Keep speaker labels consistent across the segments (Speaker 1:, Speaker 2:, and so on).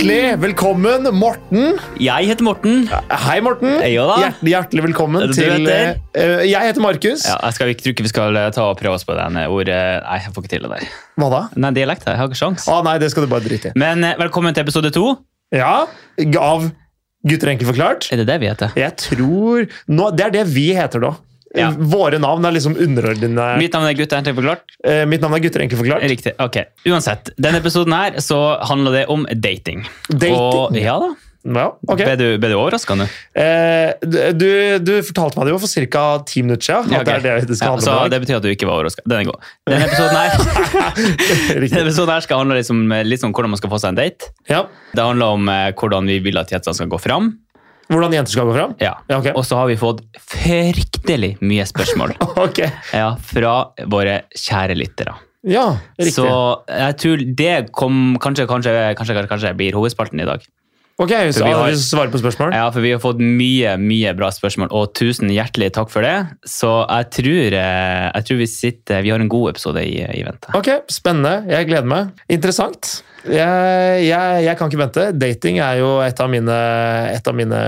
Speaker 1: Velkommen, Morten.
Speaker 2: Jeg heter Morten.
Speaker 1: Hei, Morten.
Speaker 2: Ja da.
Speaker 1: Hjertelig, hjertelig velkommen
Speaker 2: Du
Speaker 1: til
Speaker 2: heter?
Speaker 1: eh, Jeg heter Markus.
Speaker 2: Ja, jeg skal ikke tror ikke vi skal eh, ta og prøve oss på den eh, ordet Nei, jeg får ikke til det der.
Speaker 1: Hva da?
Speaker 2: Nei, dialekt. Jeg har ikke sjans.
Speaker 1: Å nei, det skal du bare drite i.
Speaker 2: Men eh, velkommen til episode to.
Speaker 1: Ja, Av Gutter enkelt forklart.
Speaker 2: Er det det vi heter?
Speaker 1: Jeg tror nå, Det er det vi heter nå.
Speaker 2: Ja.
Speaker 1: Våre navn er liksom underordnede. Mitt,
Speaker 2: Mitt navn er Gutt Erntlig forklart.
Speaker 1: mitt navn er Gutter enkelt forklart.
Speaker 2: Riktig. Ok. Uansett. Denne episoden her så handler det om dating.
Speaker 1: Dating?
Speaker 2: Og, ja da.
Speaker 1: Ja, ok.
Speaker 2: Ble du, ble du overraska nå?
Speaker 1: Eh, du, du fortalte meg det jo for ca. ti minutter siden.
Speaker 2: Ja,
Speaker 1: At det er det det skal
Speaker 2: Ja,
Speaker 1: handle
Speaker 2: så
Speaker 1: om. i dag.
Speaker 2: det betyr at du ikke var overraska. Den er god. Denne episoden her, denne
Speaker 1: Riktig.
Speaker 2: episoden her skal handle liksom, eh, litt om hvordan man skal få seg en date.
Speaker 1: Ja.
Speaker 2: Det handler om eh, hvordan vi vil at jentene skal gå fram.
Speaker 1: Hvordan jenter skal gå fram?
Speaker 2: Ja.
Speaker 1: Ja, ok.
Speaker 2: Og så har vi fått fryktelig mye spørsmål
Speaker 1: Ok.
Speaker 2: ja, fra våre kjære lyttere.
Speaker 1: Ja, riktig.
Speaker 2: Så jeg tror det kom, kanskje, kanskje, kanskje, kanskje, kanskje blir hovedspalten i dag.
Speaker 1: ok, så
Speaker 2: vi
Speaker 1: vi
Speaker 2: har-
Speaker 1: har... svarer på spørsmål.
Speaker 2: Ja, for vi har fått mye, mye bra spørsmål, og tusen hjertelig takk for det. Så jeg tror, eh, jeg tror vi sitter Vi har en god episode i, i vente.
Speaker 1: Ok, spennende. Jeg gleder meg. Interessant. Jeg, jeg, jeg kan ikke vente. Dating er jo et av mine, et av mine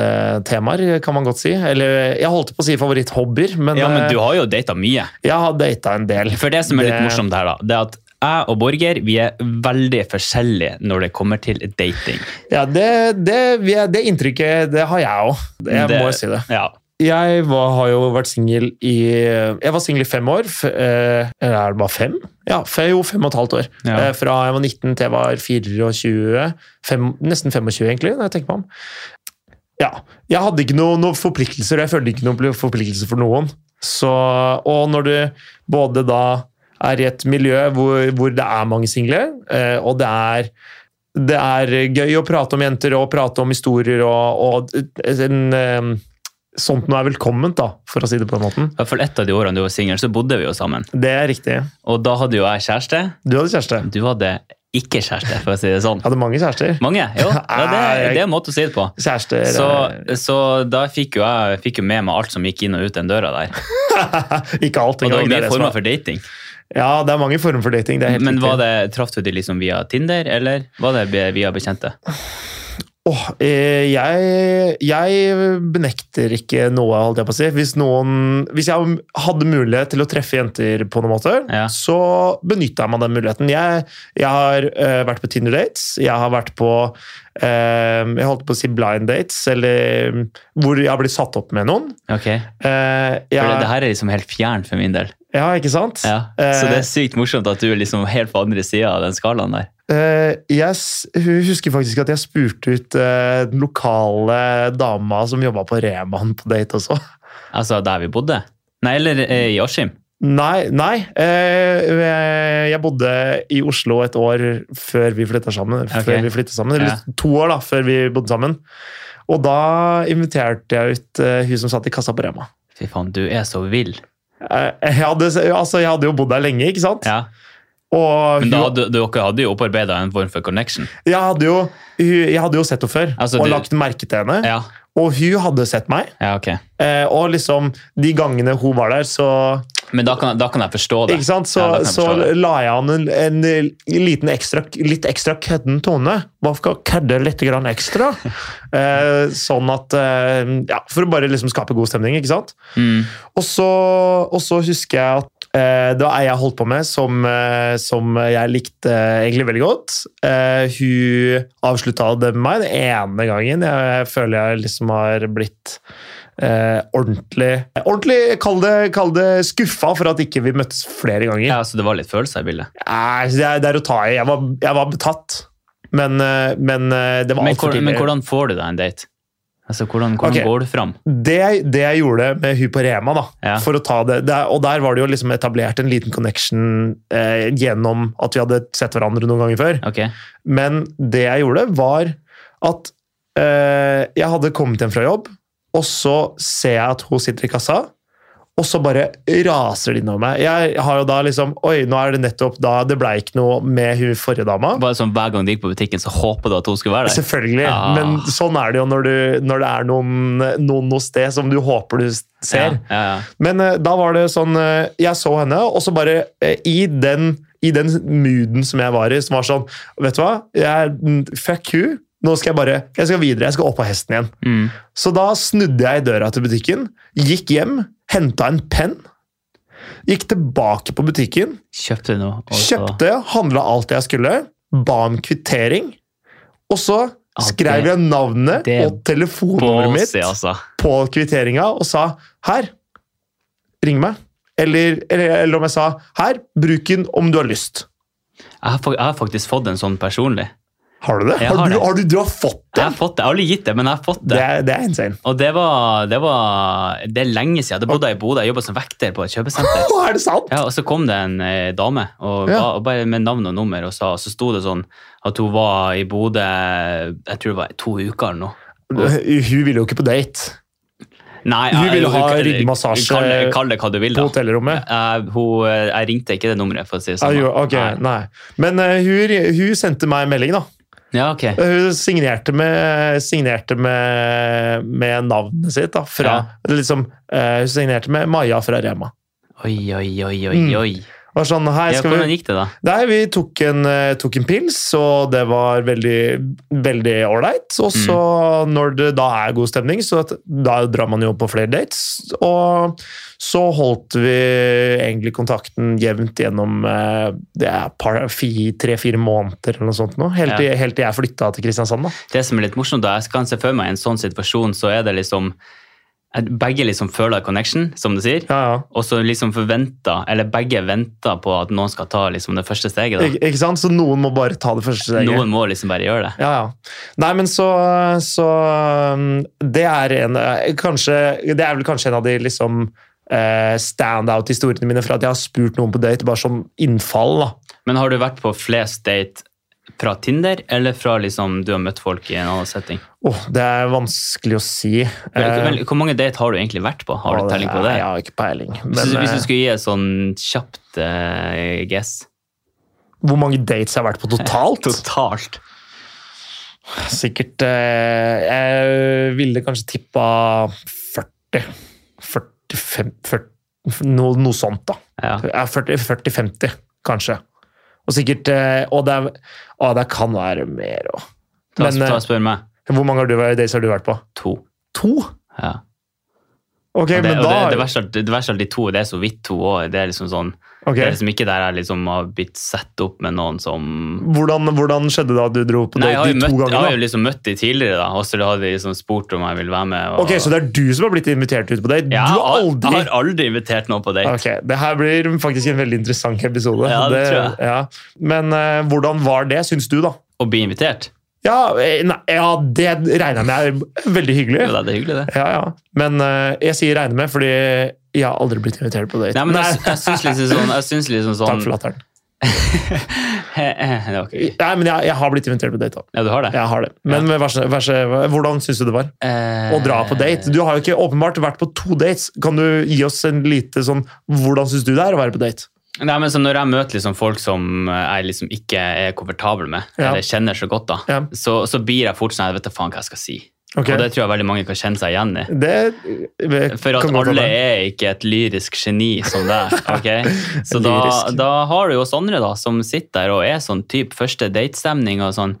Speaker 1: favorittemaer, kan man godt si. Eller jeg holdt på å si favoritthobbyer, men,
Speaker 2: Ja, men
Speaker 1: eh,
Speaker 2: du har jo data mye.
Speaker 1: jeg har data en del.
Speaker 2: For det som er litt
Speaker 1: Det-
Speaker 2: morsomt her, da, det er at jeg og Borger vi er veldig forskjellige når det kommer til dating.
Speaker 1: Ja, det, det, vi er- det inntrykket det har jeg òg. Jeg må jo si det.
Speaker 2: Ja,
Speaker 1: Jeg var, har jo vært singel i Jeg var singel i fem år. f- eh, Eller er det bare fem? Ja, fe- jo, fem og et halvt år.
Speaker 2: Ja.
Speaker 1: Eh, Fra jeg var 19 til jeg var 24. Fem, nesten 25, egentlig, når jeg tenker meg om. Ja. Jeg hadde ikke noen noe forpliktelser, og jeg følte ikke noen forpliktelser for noen. Så, og når du både da er i et miljø hvor, hvor det er mange single, eh, og det er det er gøy å prate om jenter og prate om historier og, og en, eh, sånt noe er velkomment, da, for å si det på den måten.
Speaker 2: I hvert fall ett av de årene du var singel, så bodde vi jo sammen.
Speaker 1: Det er riktig.
Speaker 2: Og da hadde jo jeg kjæreste.
Speaker 1: Du hadde kjæreste.
Speaker 2: Du hadde ikke kjæreste, for å si det sånn.
Speaker 1: Jeg hadde mange kjærester.
Speaker 2: Mange? Jo, ja, det, det er en måte å si det på.
Speaker 1: Kjærester
Speaker 2: Så,
Speaker 1: eh,
Speaker 2: så da fikk jo jeg fikk jo med meg alt som gikk inn og ut den døra der.
Speaker 1: Ikke alt
Speaker 2: Og det var
Speaker 1: engang. det er
Speaker 2: mye
Speaker 1: det som
Speaker 2: former
Speaker 1: er-
Speaker 2: for dating.
Speaker 1: Ja, det er mange former for dating. Det er helt
Speaker 2: Men
Speaker 1: riktig.
Speaker 2: var det, traff du de liksom via Tinder, eller var det be- via bekjente?
Speaker 1: Åh, eh, jeg, jeg benekter ikke noe, holdt jeg på å si. Hvis, noen, hvis jeg hadde mulighet til å treffe jenter på noen måte,
Speaker 2: Ja.
Speaker 1: så benytta jeg meg av den muligheten. Jeg, jeg har eh, vært på Tinder dates, jeg har vært på eh, jeg holdt på å si blind dates, eller eh, hvor jeg har blitt satt opp med noen.
Speaker 2: Ok, for
Speaker 1: Eh, jeg,
Speaker 2: det, det her er liksom helt fjern for min del.
Speaker 1: ja, ikke sant?
Speaker 2: Ja. Så
Speaker 1: Eh,
Speaker 2: det er sykt morsomt at du er liksom helt på andre sida av den skalaen der.
Speaker 1: Eh, jeg s- hu- husker faktisk at jeg spurte ut eh, den lokale dama som jobba på Reman på date også.
Speaker 2: Altså der vi bodde. Nei, eller eh, i Askim.
Speaker 1: Nei, nei. eh, jeg bodde i Oslo et år før vi flytta sammen. Før vi flyttet sammen. Eller to år, da, før vi bodde sammen. Og da inviterte jeg ut eh, hun som satt i kassa på Rema.
Speaker 2: Fy faen, du er så vill.
Speaker 1: Eh, jeg, hadde, altså, jeg hadde jo bodd der lenge, ikke sant?
Speaker 2: Ja.
Speaker 1: Og
Speaker 2: Men
Speaker 1: hun,
Speaker 2: da hadde, dere hadde jo opparbeida en form for connection.
Speaker 1: jeg, hadde jo, hun, jeg hadde jo sett henne før
Speaker 2: Altså,
Speaker 1: og
Speaker 2: du-
Speaker 1: lagt merke til henne.
Speaker 2: Ja,
Speaker 1: Og hun hadde sett meg.
Speaker 2: ja ok.
Speaker 1: Eh, og liksom, de gangene hun var der, så,
Speaker 2: Men da kan, da kan jeg forstå det.
Speaker 1: ikke sant? så,
Speaker 2: Ja, da kan jeg
Speaker 1: så
Speaker 2: forstå det.
Speaker 1: la jeg an en, en liten ekstra, litt ekstra kødden tone. Bare for å kødde litt grann ekstra. Eh, sånn at eh, Ja, for å bare liksom skape god stemning, ikke sant?
Speaker 2: Mm.
Speaker 1: Og så, og så husker jeg at eh, det var ei jeg holdt på med som, eh, som jeg likte eh, egentlig veldig godt. Eh, hun avslutta det med meg den ene gangen. Jeg, jeg føler jeg liksom har blitt eh, ordentlig Ordentlig, kall det, kall det skuffa for at ikke vi møttes flere ganger.
Speaker 2: Ja, Så det var litt følelser i bildet.
Speaker 1: Nei, det, er, det er å ta i. Jeg var, jeg var betatt. Men, eh, men eh, det var
Speaker 2: Men,
Speaker 1: altfor
Speaker 2: hvor, men
Speaker 1: tidlig.
Speaker 2: hvordan får du deg en date? Altså, Hvordan, hvordan
Speaker 1: Ok.
Speaker 2: går du fram?
Speaker 1: det, det jeg gjorde med hun på Rema, da,
Speaker 2: Ja.
Speaker 1: for å ta det, det Og der var det jo liksom etablert en liten connection eh, gjennom at vi hadde sett hverandre noen ganger før.
Speaker 2: Ok,
Speaker 1: Men det jeg gjorde, var at eh, jeg hadde kommet hjem fra jobb, og så ser jeg at hun sitter i kassa. Og så bare raser det innover meg. Jeg har jo da liksom Oi, nå er det nettopp da Det blei ikke noe med hun forrige dama.
Speaker 2: Bare sånn Hver gang du gikk på butikken, så håpet du at hun skulle være der?
Speaker 1: Selvfølgelig,
Speaker 2: Ah.
Speaker 1: men sånn er det jo når, du, når det er noen, noen noe sted som du håper du ser.
Speaker 2: Ja, ja, ja.
Speaker 1: Men eh, da var det sånn eh, Jeg så henne, og så bare eh, i den i den mooden som jeg var i, som var sånn Vet du hva? Jeg, fuck you. Nå skal jeg bare Jeg skal videre. Jeg skal opp på hesten igjen.
Speaker 2: Mm.
Speaker 1: Så da snudde jeg i døra til butikken, gikk hjem, henta en penn. Gikk tilbake på butikken,
Speaker 2: Kjøpte noe. og så-
Speaker 1: kjøpte, handla alt jeg skulle, ba om kvittering. Og så
Speaker 2: Ja,
Speaker 1: skrev
Speaker 2: det-
Speaker 1: jeg navnet
Speaker 2: det er
Speaker 1: og telefonnummeret mitt
Speaker 2: Båse, altså.
Speaker 1: på kvitteringa og sa 'her, ring meg'. Eller, eller, eller om jeg sa 'her, bruk den om du har lyst'.
Speaker 2: Jeg har, fak- jeg har faktisk fått en sånn personlig.
Speaker 1: Har du det?
Speaker 2: Jeg
Speaker 1: Har,
Speaker 2: har
Speaker 1: du,
Speaker 2: det.
Speaker 1: har du, du har fått
Speaker 2: Jeg
Speaker 1: det?
Speaker 2: har fått det. Jeg har aldri gitt det, men jeg har fått
Speaker 1: Det
Speaker 2: det.
Speaker 1: er, det er insane.
Speaker 2: Og det var, det var Det er lenge siden. Da bodde jeg i Bodø. Jeg jobba som vekter på et kjøpesenter.
Speaker 1: Å, er det sant?
Speaker 2: Ja, og så kom det en eh, dame og,
Speaker 1: Ja.
Speaker 2: ba- og bare med navn og nummer, og, sa, og så sto det sånn at hun var i Bodø jeg tror det var to uker eller noe.
Speaker 1: Hun ville jo ikke på date
Speaker 2: Nei,
Speaker 1: Hun
Speaker 2: jeg-
Speaker 1: ville ha
Speaker 2: kan-
Speaker 1: ryggmassasje
Speaker 2: Kall det- kall det hva du vil,
Speaker 1: på
Speaker 2: da.
Speaker 1: hotellrommet.
Speaker 2: Jeg, hun, eh, jeg ringte ikke det nummeret, for å si det
Speaker 1: Ah,
Speaker 2: sånn.
Speaker 1: jo,
Speaker 2: da.
Speaker 1: ok,
Speaker 2: Nei.
Speaker 1: nei. Men eh, hun, hun sendte meg en melding, da.
Speaker 2: Ja, ok.
Speaker 1: Hun signerte med, signerte med, med navnet sitt. da, fra, liksom, eh, Hun signerte med Maja fra Rema.
Speaker 2: Oi, oi, oi,
Speaker 1: Mm.
Speaker 2: oi, oi.
Speaker 1: Var sånn, Hei,
Speaker 2: Ja,
Speaker 1: skal vi
Speaker 2: hvordan gikk det, da?
Speaker 1: Nei, vi tok en, eh, tok en pils, og det var veldig, veldig ålreit. Og så, når det da er god stemning, så at, da drar man jo på flere dates. Og så holdt vi egentlig kontakten jevnt gjennom eh, det er tre-fire måneder eller noe sånt nå. Helt til, helt til jeg flytta til Kristiansand, da.
Speaker 2: Det som er litt morsomt, da, jeg kan se for meg i en sånn situasjon, så er det liksom at Begge liksom føler connection, som du sier.
Speaker 1: Ja, ja.
Speaker 2: Og så liksom forventer, eller begge venter på at noen skal ta liksom det første steget. da.
Speaker 1: Ik ikke sant? Så noen må bare ta det første steget.
Speaker 2: Noen må liksom bare gjøre det.
Speaker 1: Ja, ja. Nei, men så, så um, Det er en eh, kanskje, Det er vel kanskje en av de liksom eh, standout-historiene mine fra at jeg har spurt noen på date bare som innfall. da.
Speaker 2: Men har du vært på flest date fra Tinder, eller fra liksom du har møtt folk i en annen setting?
Speaker 1: Åh, det er vanskelig å si.
Speaker 2: Vel,
Speaker 1: Eh,
Speaker 2: vel, hvor mange date har du egentlig vært på? Har
Speaker 1: ja,
Speaker 2: du telling på
Speaker 1: er-
Speaker 2: det?
Speaker 1: Jeg har ikke peiling.
Speaker 2: Hvis
Speaker 1: Men
Speaker 2: du- hvis
Speaker 1: eh,
Speaker 2: du skulle gi et sånn kjapt uh, guess
Speaker 1: hvor mange dates jeg har vært på totalt?
Speaker 2: Totalt.
Speaker 1: Sikkert eh, Jeg ville kanskje tippa 40. 45 40, noe, noe sånt, da.
Speaker 2: Ja.
Speaker 1: Ja, 40 40-50, kanskje. Og sikkert eh, Og det, er, å, det kan være mer òg.
Speaker 2: Ta,
Speaker 1: Men,
Speaker 2: ta
Speaker 1: eh,
Speaker 2: og Spør meg.
Speaker 1: Hvor mange har du, days har du vært på?
Speaker 2: To.
Speaker 1: To?
Speaker 2: Ja.
Speaker 1: Ok,
Speaker 2: Og det,
Speaker 1: men
Speaker 2: og
Speaker 1: da
Speaker 2: det, det, verste, er at- det verste er at de to det er så vidt to år. Det er liksom sånn,
Speaker 1: ok.
Speaker 2: det er liksom ikke der jeg liksom har blitt sett opp med noen som
Speaker 1: hvordan, hvordan skjedde det at du dro på
Speaker 2: Nei, jeg har
Speaker 1: date
Speaker 2: jo,
Speaker 1: de to
Speaker 2: møtt, jeg har jo
Speaker 1: gangene? da?
Speaker 2: liksom møtt de tidligere, da, og så hadde de liksom spurt om jeg ville være med. Og,
Speaker 1: Ok, Så det er du som har blitt invitert ut på date?
Speaker 2: Ja,
Speaker 1: du har
Speaker 2: Jeg
Speaker 1: aldri
Speaker 2: har aldri invitert noen på date.
Speaker 1: Ok, Det her blir faktisk en veldig interessant episode.
Speaker 2: Ja, det tror
Speaker 1: ja. Men eh, hvordan var det, syns du, da?
Speaker 2: Å bli invitert?
Speaker 1: Ja, eh, nei, ja det regner jeg med er veldig hyggelig.
Speaker 2: Jo, da, det er hyggelig, det.
Speaker 1: Ja, ja. Men eh, jeg sier regne med, fordi jeg har aldri blitt invitert på date.
Speaker 2: Nei, men jeg, sy- jeg syns liksom sånn, jeg syns liksom sånn
Speaker 1: Takk for latteren.
Speaker 2: det var ikke gøy.
Speaker 1: Nei, men jeg, jeg har blitt invitert på date. da.
Speaker 2: Ja, du har det?
Speaker 1: Jeg har det. Men vær så- vær så- hvordan syns du det var
Speaker 2: Eh,
Speaker 1: å dra på date? Du har jo ikke åpenbart vært på to dates. Kan du gi oss en lite sånn Hvordan syns du det er å være på date?
Speaker 2: Nei, men så Når jeg møter liksom folk som eh, jeg liksom ikke er komfortabel med,
Speaker 1: Ja.
Speaker 2: eller kjenner så godt, da,
Speaker 1: Ja.
Speaker 2: så, så blir jeg fort sånn Jeg vet da faen hva jeg skal si.
Speaker 1: Ok.
Speaker 2: Og det tror jeg veldig mange kan kjenne seg igjen i.
Speaker 1: Det, det
Speaker 2: For at
Speaker 1: kan godt
Speaker 2: alle
Speaker 1: hende.
Speaker 2: er ikke et lyrisk geni som deg. ok? Så da,
Speaker 1: Lyrisk.
Speaker 2: da har du jo sånne da, som sitter der og er sånn type første datestemning og sånn.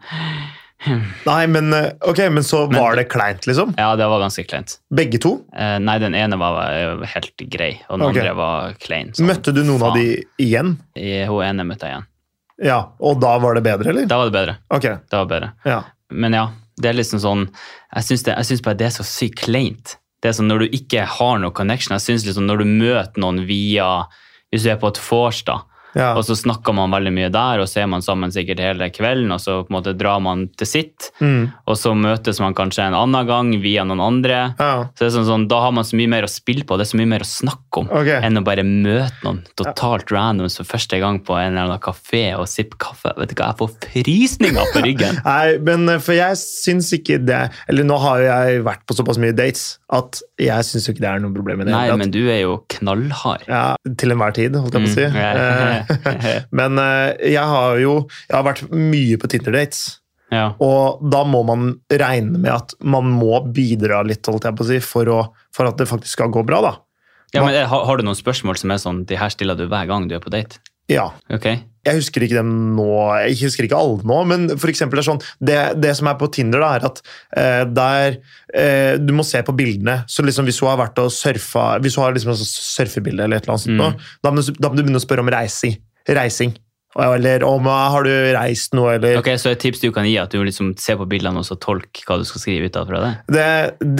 Speaker 1: Nei, men eh, ok, men så
Speaker 2: Men-
Speaker 1: var det kleint, liksom?
Speaker 2: Ja, det var ganske kleint.
Speaker 1: Begge to?
Speaker 2: Eh, nei, den ene var eh, helt grei, og den
Speaker 1: Ok.
Speaker 2: andre var klein. sånn.
Speaker 1: Møtte du noen av de igjen?
Speaker 2: I- Hun ene møtte jeg igjen.
Speaker 1: Ja, Og da var det bedre, eller?
Speaker 2: Da var det bedre.
Speaker 1: Ok,
Speaker 2: Da var det bedre.
Speaker 1: ja.
Speaker 2: Men ja, det er liksom sånn Jeg syns det- jeg syns bare det er så sykt kleint. Det er sånn når du ikke har noe connection. Jeg syns liksom når du møter noen via Hvis du er på et vors, da.
Speaker 1: ja.
Speaker 2: Og så snakker man veldig mye der, og så er man sammen sikkert hele kvelden, og så på en måte drar man til sitt,
Speaker 1: Mm.
Speaker 2: og så møtes man kanskje en annen gang via noen andre.
Speaker 1: ja.
Speaker 2: Så det er sånn, sånn, Da har man så mye mer å spille på, det er så mye mer å snakke om,
Speaker 1: Ok.
Speaker 2: enn å bare møte noen totalt randoms for første gang på en eller annen kafé og sippe kaffe. Vet du hva, jeg får frysninger på ryggen!
Speaker 1: Nei, men eh, for jeg syns ikke det Eller nå har jo jeg vært på såpass mye dates at jeg syns jo ikke det er noe problem i det.
Speaker 2: Nei,
Speaker 1: hele tatt.
Speaker 2: men du er jo knallhard.
Speaker 1: ja, til enhver tid, holdt jeg på å si.
Speaker 2: Mm, ja.
Speaker 1: Eh, men eh, jeg har jo jeg har vært mye på Tinder-dates.
Speaker 2: Ja.
Speaker 1: Og da må man regne med at man må bidra litt holdt jeg på å si, for, å, for at det faktisk skal gå bra. da.
Speaker 2: eh, Ja, men har, har du noen spørsmål som er sånn de her stiller du hver gang du er på date?
Speaker 1: Ja.
Speaker 2: Ok?
Speaker 1: Jeg husker ikke dem nå, jeg husker ikke alle nå, men for eksempel det, er sånn, det, det som er på Tinder, da, er at eh, der eh, Du må se på bildene. Så liksom hvis hun har vært og surfa, hvis hun har liksom et surfebilde, eller et eller annet sånt,
Speaker 2: Mm.
Speaker 1: nå, da, må du, da må du begynne å spørre om reising. reising. Eller om eh, har du reist noe, eller
Speaker 2: Ok, Så et tips du kan gi, at du liksom ser på bildene og så tolk hva du skal skrive ut av fra det?
Speaker 1: Det,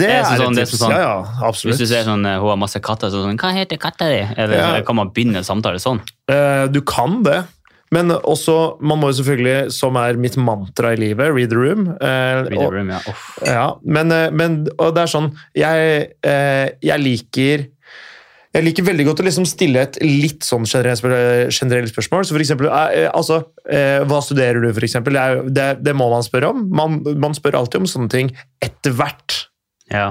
Speaker 1: det
Speaker 2: er
Speaker 1: er,
Speaker 2: sånn-
Speaker 1: et
Speaker 2: det er
Speaker 1: tips.
Speaker 2: sånn-
Speaker 1: Ja, ja, absolutt.
Speaker 2: Hvis du ser sånn, eh, hun har masse katter, så er det sånn, hva heter katta di? Eller
Speaker 1: Ja.
Speaker 2: kan man begynne en samtale sånn?
Speaker 1: Eh, Du kan det. Men også, man må jo selvfølgelig, som er mitt mantra i livet, read the room. eh,
Speaker 2: Read the
Speaker 1: og-
Speaker 2: room, ja. Uff.
Speaker 1: Ja, men, eh, men og det er sånn Jeg, eh, jeg liker jeg liker veldig godt å liksom stille et litt sånn generelt, spør- generelt spørsmål. Så for eksempel, eh, eh, altså, eh, hva studerer du, for eksempel? Det, er, jo- det, det må man spørre om. Man, man spør alltid om sånne ting etter hvert.
Speaker 2: Ja.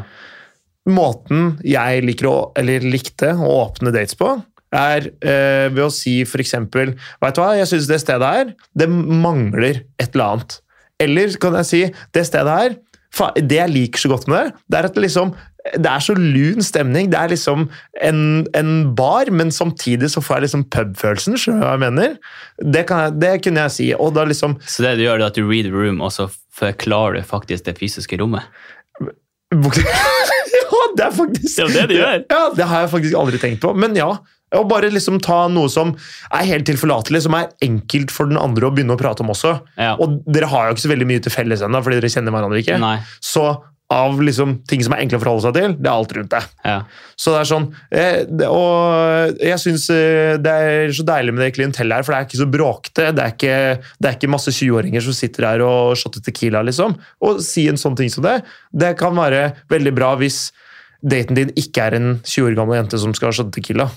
Speaker 1: Måten jeg liker å, eller likte å åpne dates på, er eh, ved å si for eksempel Vet du hva, jeg syns det stedet her, det mangler et eller annet. Eller kan jeg si det stedet her fa, Det jeg liker så godt med det, det er at det liksom det er så lun stemning. Det er liksom en, en bar, men samtidig så får jeg liksom pubfølelsen. Skjønner du hva jeg mener? Det, kan jeg, det kunne jeg si. Og da liksom
Speaker 2: Så det du gjør, det er at du read the room, og så forklarer du faktisk det fysiske rommet.
Speaker 1: Ja, det er faktisk
Speaker 2: Det er jo det de gjør.
Speaker 1: Ja, det har jeg faktisk aldri tenkt på. Men ja. Og bare liksom ta noe som er helt tilforlatelig, som er enkelt for den andre å begynne å prate om også.
Speaker 2: Ja.
Speaker 1: Og dere har jo ikke så veldig mye til felles ennå, fordi dere kjenner hverandre ikke.
Speaker 2: Nei.
Speaker 1: Så av liksom ting som er enkle å forholde seg til, det er alt rundt deg.
Speaker 2: Ja.
Speaker 1: Så det er sånn, eh, det- Og jeg syns det er så deilig med det klientellet her, for det er ikke så bråkete. Det er ikke, det er ikke masse 20-åringer som sitter her og shotter Tequila, liksom. Å si en sånn ting som det, det kan være veldig bra hvis daten din ikke er en 20 år gammel jente som skal shotte Tequila.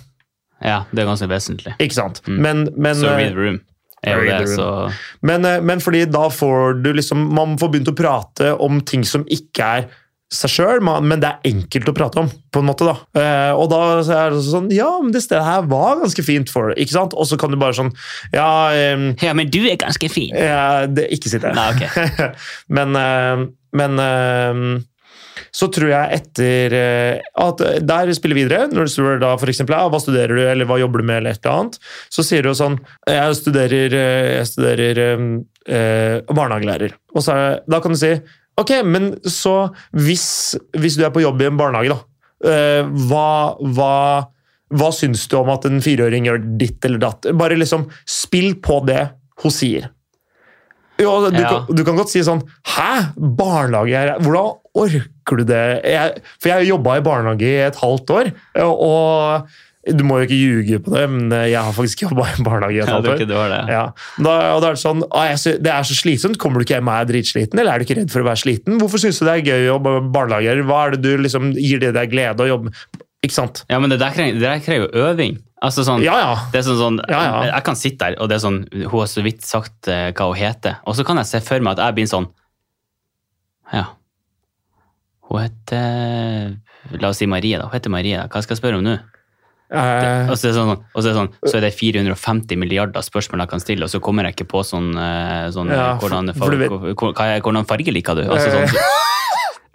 Speaker 2: ja, det er ganske vesentlig.
Speaker 1: Ikke sant? Men, men,
Speaker 2: Mm. Så
Speaker 1: eh,
Speaker 2: read the room er jo
Speaker 1: Read
Speaker 2: det,
Speaker 1: the
Speaker 2: så
Speaker 1: Men, eh, men fordi da får du liksom Man får begynt å prate om ting som ikke er seg sjøl, men det er enkelt å prate om, på en måte, da. Eh, og da så er det sånn Ja, men det stedet her var ganske fint for deg, ikke sant? Og så kan du bare sånn Ja, eh,
Speaker 2: Ja, men du er ganske fin!
Speaker 1: eh, det, ikke si det.
Speaker 2: Nei, ok.
Speaker 1: men eh, men eh, så tror jeg etter eh, at der spiller videre, når du spør da for eksempel, ja, hva studerer du, eller hva jobber du med, eller et eller annet, så sier du jo sånn, jeg studerer, eh, jeg studerer eh, eh, barnehagelærer. Og så er det, da kan du si, ok, men så hvis, hvis du er på jobb i en barnehage da, eh, hva, hva, hva syns du om at en fireåring gjør ditt eller datt? Bare liksom spill på det hun sier. Jo, du,
Speaker 2: Ja.
Speaker 1: kan, du kan godt si sånn Hæ? Barnehage? er- Hvordan orker du det? Jeg, for jeg jobba i barnehage i et halvt år, og du må jo ikke ljuge på det, men jeg har faktisk jobba i barnehage i et
Speaker 2: Ja,
Speaker 1: halvt
Speaker 2: det er
Speaker 1: år.
Speaker 2: ikke du har det.
Speaker 1: Ja. Da, og da er det sånn «Å, jeg sy- Det er så slitsomt. Kommer du ikke hjem og er dritsliten, eller er du ikke redd for å være sliten? Hvorfor syns du det er gøy å jobbe i barnehager? Hva er det du liksom Gir det deg glede å jobbe med? Ikke sant?
Speaker 2: Ja, men det der krever, det der krever jo øving. Altså sånn,
Speaker 1: Ja, ja.
Speaker 2: det er sånn, sånn
Speaker 1: Ja, ja.
Speaker 2: Jeg, jeg kan sitte der, og det er sånn, hun har så vidt sagt eh, hva hun heter. Og så kan jeg se for meg at jeg blir sånn Ja. Hun heter La oss si Marie, da. Hun heter Marie. da. Hva skal jeg spørre om nå?
Speaker 1: Eh,
Speaker 2: Og så er det sånn, og så er det, sånn, så er det 450 milliarder spørsmål jeg kan stille, og så kommer jeg ikke på sånn, eh, sånn
Speaker 1: Ja, for-
Speaker 2: hvordan,
Speaker 1: for du vet-
Speaker 2: hvor- hvor- hva er- hvordan farge liker du? Altså, sånn,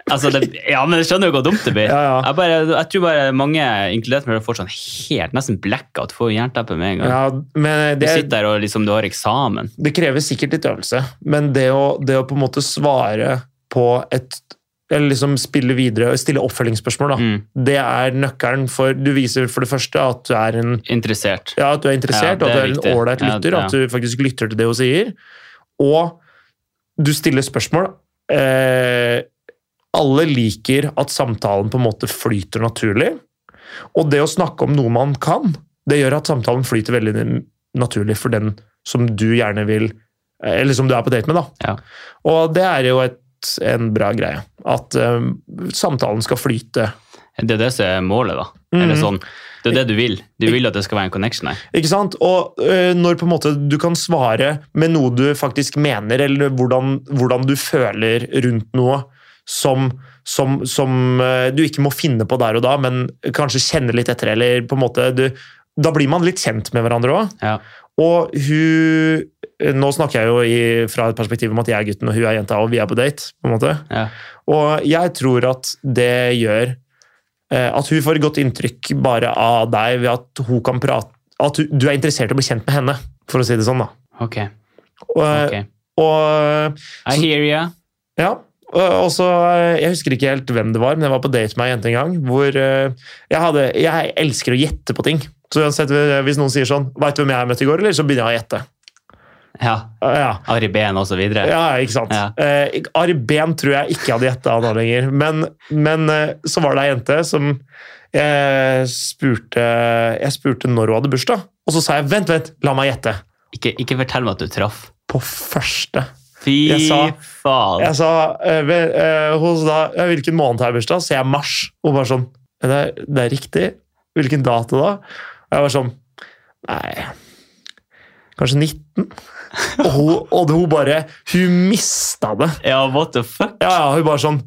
Speaker 2: altså, det, ja, men jeg skjønner jo hvor dumt det blir.
Speaker 1: Ja, ja.
Speaker 2: Jeg, bare, jeg tror bare mange, inkludert meg, får sånn helt, nesten blackout, får jernteppe med en gang.
Speaker 1: ja, men
Speaker 2: Du
Speaker 1: det,
Speaker 2: sitter der og liksom, du har eksamen.
Speaker 1: det krever sikkert litt øvelse, men det å, det å på en måte svare på et Eller liksom spille videre og stille oppfølgingsspørsmål, da.
Speaker 2: Mm.
Speaker 1: Det er nøkkelen for Du viser for det første at du er en
Speaker 2: Interessert.
Speaker 1: Ja, at du er interessert,
Speaker 2: Ja,
Speaker 1: og
Speaker 2: det
Speaker 1: at
Speaker 2: er
Speaker 1: du er
Speaker 2: viktig.
Speaker 1: en ålreit
Speaker 2: Ja,
Speaker 1: lytter,
Speaker 2: ja.
Speaker 1: at du faktisk lytter til det hun sier. Og du stiller spørsmål. Eh, alle liker at samtalen på en måte flyter naturlig. Og det å snakke om noe man kan, det gjør at samtalen flyter veldig naturlig for den som du gjerne vil Eller som du er på date med, da.
Speaker 2: Ja.
Speaker 1: Og det er jo et, en bra greie. At eh, samtalen skal flyte.
Speaker 2: Det er det som er målet, da.
Speaker 1: Mhm.
Speaker 2: Eller sånn, det er det du vil. Du vil at det skal være en connection her.
Speaker 1: Ikke sant? Og øh, når på en måte du kan svare med noe du faktisk mener, eller hvordan, hvordan du føler rundt noe som, som, som øh, du ikke må finne på der og da, men kanskje kjenne litt etter, eller på en måte du, Da blir man litt kjent med hverandre òg.
Speaker 2: Ja.
Speaker 1: Og hun eh, Nå snakker jeg jo i, fra et perspektiv om at jeg er gutten og hun er jenta, og vi er på date. på en måte.
Speaker 2: Ja.
Speaker 1: Og jeg tror at det gjør eh, at hun får et godt inntrykk bare av deg ved at hun kan prate At du, du er interessert i å bli kjent med henne, for å si det sånn. da.
Speaker 2: Ok.
Speaker 1: Og,
Speaker 2: ok.
Speaker 1: og
Speaker 2: I hear ya.
Speaker 1: ja. Og og så, eh, Jeg husker ikke helt hvem det var, men jeg var på date med ei jente en gang. hvor eh, jeg, hadde, jeg elsker å gjette på ting. Så uansett, eh, Hvis noen sier sånn 'Veit du hvem jeg møtte i går?' eller så begynner jeg å gjette.
Speaker 2: Ja.
Speaker 1: Ja,
Speaker 2: Ari Behn og så videre.
Speaker 1: ja ikke sant?
Speaker 2: Ja.
Speaker 1: Eh, Ari Behn tror jeg ikke hadde gjetta nå lenger. Men, men eh, så var det ei jente som jeg spurte, jeg spurte når hun hadde bursdag. Og så sa jeg 'vent, vent, la meg gjette'.
Speaker 2: Ikke, ikke fortell meg at du traff.
Speaker 1: På første.
Speaker 2: Fy
Speaker 1: Jeg sa-
Speaker 2: faen.
Speaker 1: Jeg sa eh, vel, eh, hos da, ja, Hvilken måned har jeg bursdag? Så jeg er mars. Og hun bare sånn det er, det er riktig. Hvilken dato da? Og jeg var sånn Nei Kanskje 19? Og hun, og hun bare Hun mista det.
Speaker 2: Ja, what the fuck?
Speaker 1: Ja, ja, hun bare sånn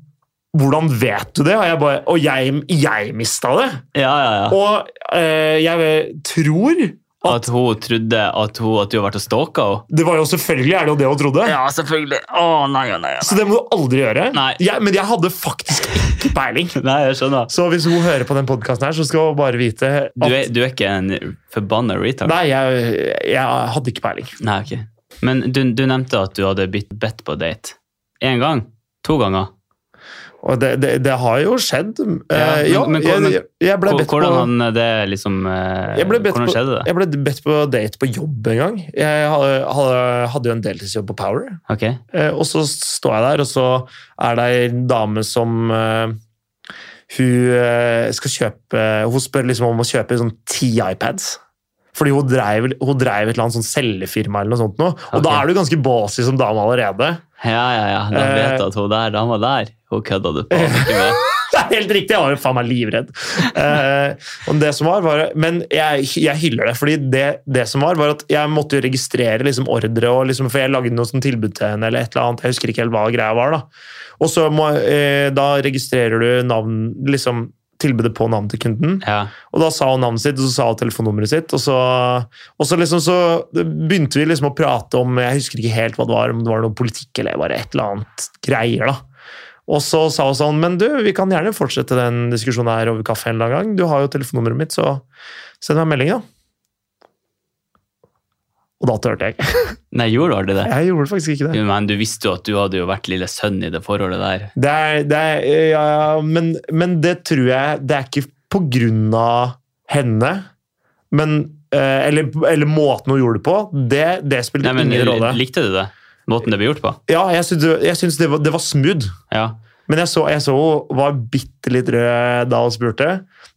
Speaker 1: Hvordan vet du det? Og jeg, bare, og jeg, jeg mista det.
Speaker 2: Ja, ja, ja.
Speaker 1: Og eh, jeg tror
Speaker 2: At hun trodde at, hun, at du har vært og stalka henne?
Speaker 1: Det var jo selvfølgelig er det jo det hun trodde.
Speaker 2: selvfølgelig. Å, nei, nei,
Speaker 1: Så det må du aldri gjøre.
Speaker 2: Nei.
Speaker 1: Jeg, men jeg hadde faktisk ikke peiling.
Speaker 2: Nei, jeg skjønner.
Speaker 1: Så hvis hun hører på den podkasten her, så skal hun bare vite at
Speaker 2: Du er, du er ikke en forbanna retard?
Speaker 1: Nei, jeg, jeg hadde ikke peiling.
Speaker 2: Nei, ok. Men du, du nevnte at du hadde blitt bedt på date. Én gang? To ganger?
Speaker 1: Og det, det, det har jo skjedd.
Speaker 2: Ja,
Speaker 1: Eh,
Speaker 2: men-
Speaker 1: ja,
Speaker 2: men hvordan-
Speaker 1: jeg, jeg ble
Speaker 2: Hvor-
Speaker 1: bedt på
Speaker 2: Hvordan han det liksom eh,
Speaker 1: Jeg ble bedt
Speaker 2: Hvordan
Speaker 1: på-
Speaker 2: skjedde det?
Speaker 1: jeg ble bedt på date på jobb en gang. Jeg hadde, hadde, hadde jo en deltidsjobb på Power.
Speaker 2: Ok.
Speaker 1: Eh, Og så står jeg der, og så er det ei dame som eh, Hun eh, skal kjøpe Hun spør liksom om å kjøpe sånn ti iPads. Fordi hun dreiv, hun dreiv et eller annet sånn selgefirma eller noe sånt. Nå. Og
Speaker 2: Ok.
Speaker 1: da er du ganske ballsy som dame allerede.
Speaker 2: Ja, ja, ja. Da
Speaker 1: Eh.
Speaker 2: vet jeg at hun der dama der, hun kødda du faen ikke med.
Speaker 1: Det er helt riktig! Jeg var jo faen meg livredd. Eh, og det som var, var men jeg, jeg hyller det. fordi det, det som var, var at jeg måtte jo registrere liksom, ordre, og liksom, for jeg lagde noe sånn tilbud til henne. eller et eller annet, Jeg husker ikke helt hva greia var. Da Og så må, eh, da registrerer du navn, liksom, tilbudet på navnet til kunden.
Speaker 2: Ja.
Speaker 1: Og da sa hun navnet sitt, og så sa hun telefonnummeret sitt. Og så, og så, liksom, så begynte vi liksom å prate om Jeg husker ikke helt hva det var, om det var noe politikk eller bare et eller annet greier. da. Og så sa hun sånn Men du, vi kan gjerne fortsette den diskusjonen her over kaffe en eller annen gang. Du har jo telefonnummeret mitt, så send meg en melding, da. Og da turte jeg ikke.
Speaker 2: Nei, gjorde du aldri det?
Speaker 1: Jeg gjorde faktisk ikke det.
Speaker 2: Jo, Men du visste jo at du hadde jo vært lille sønn i det forholdet der.
Speaker 1: Det er, det er, ja, ja, men, men det tror jeg Det er ikke på grunn av henne, men eh, eller, eller måten hun gjorde det på. Det, det
Speaker 2: Nei,
Speaker 1: spiller
Speaker 2: men
Speaker 1: ingen rolle.
Speaker 2: Likte du det? Måten det ble gjort på?
Speaker 1: Ja, jeg syns det, jeg syns det, var- det var smooth.
Speaker 2: Ja.
Speaker 1: Men jeg så, jeg så hun var bitte litt rød da hun spurte.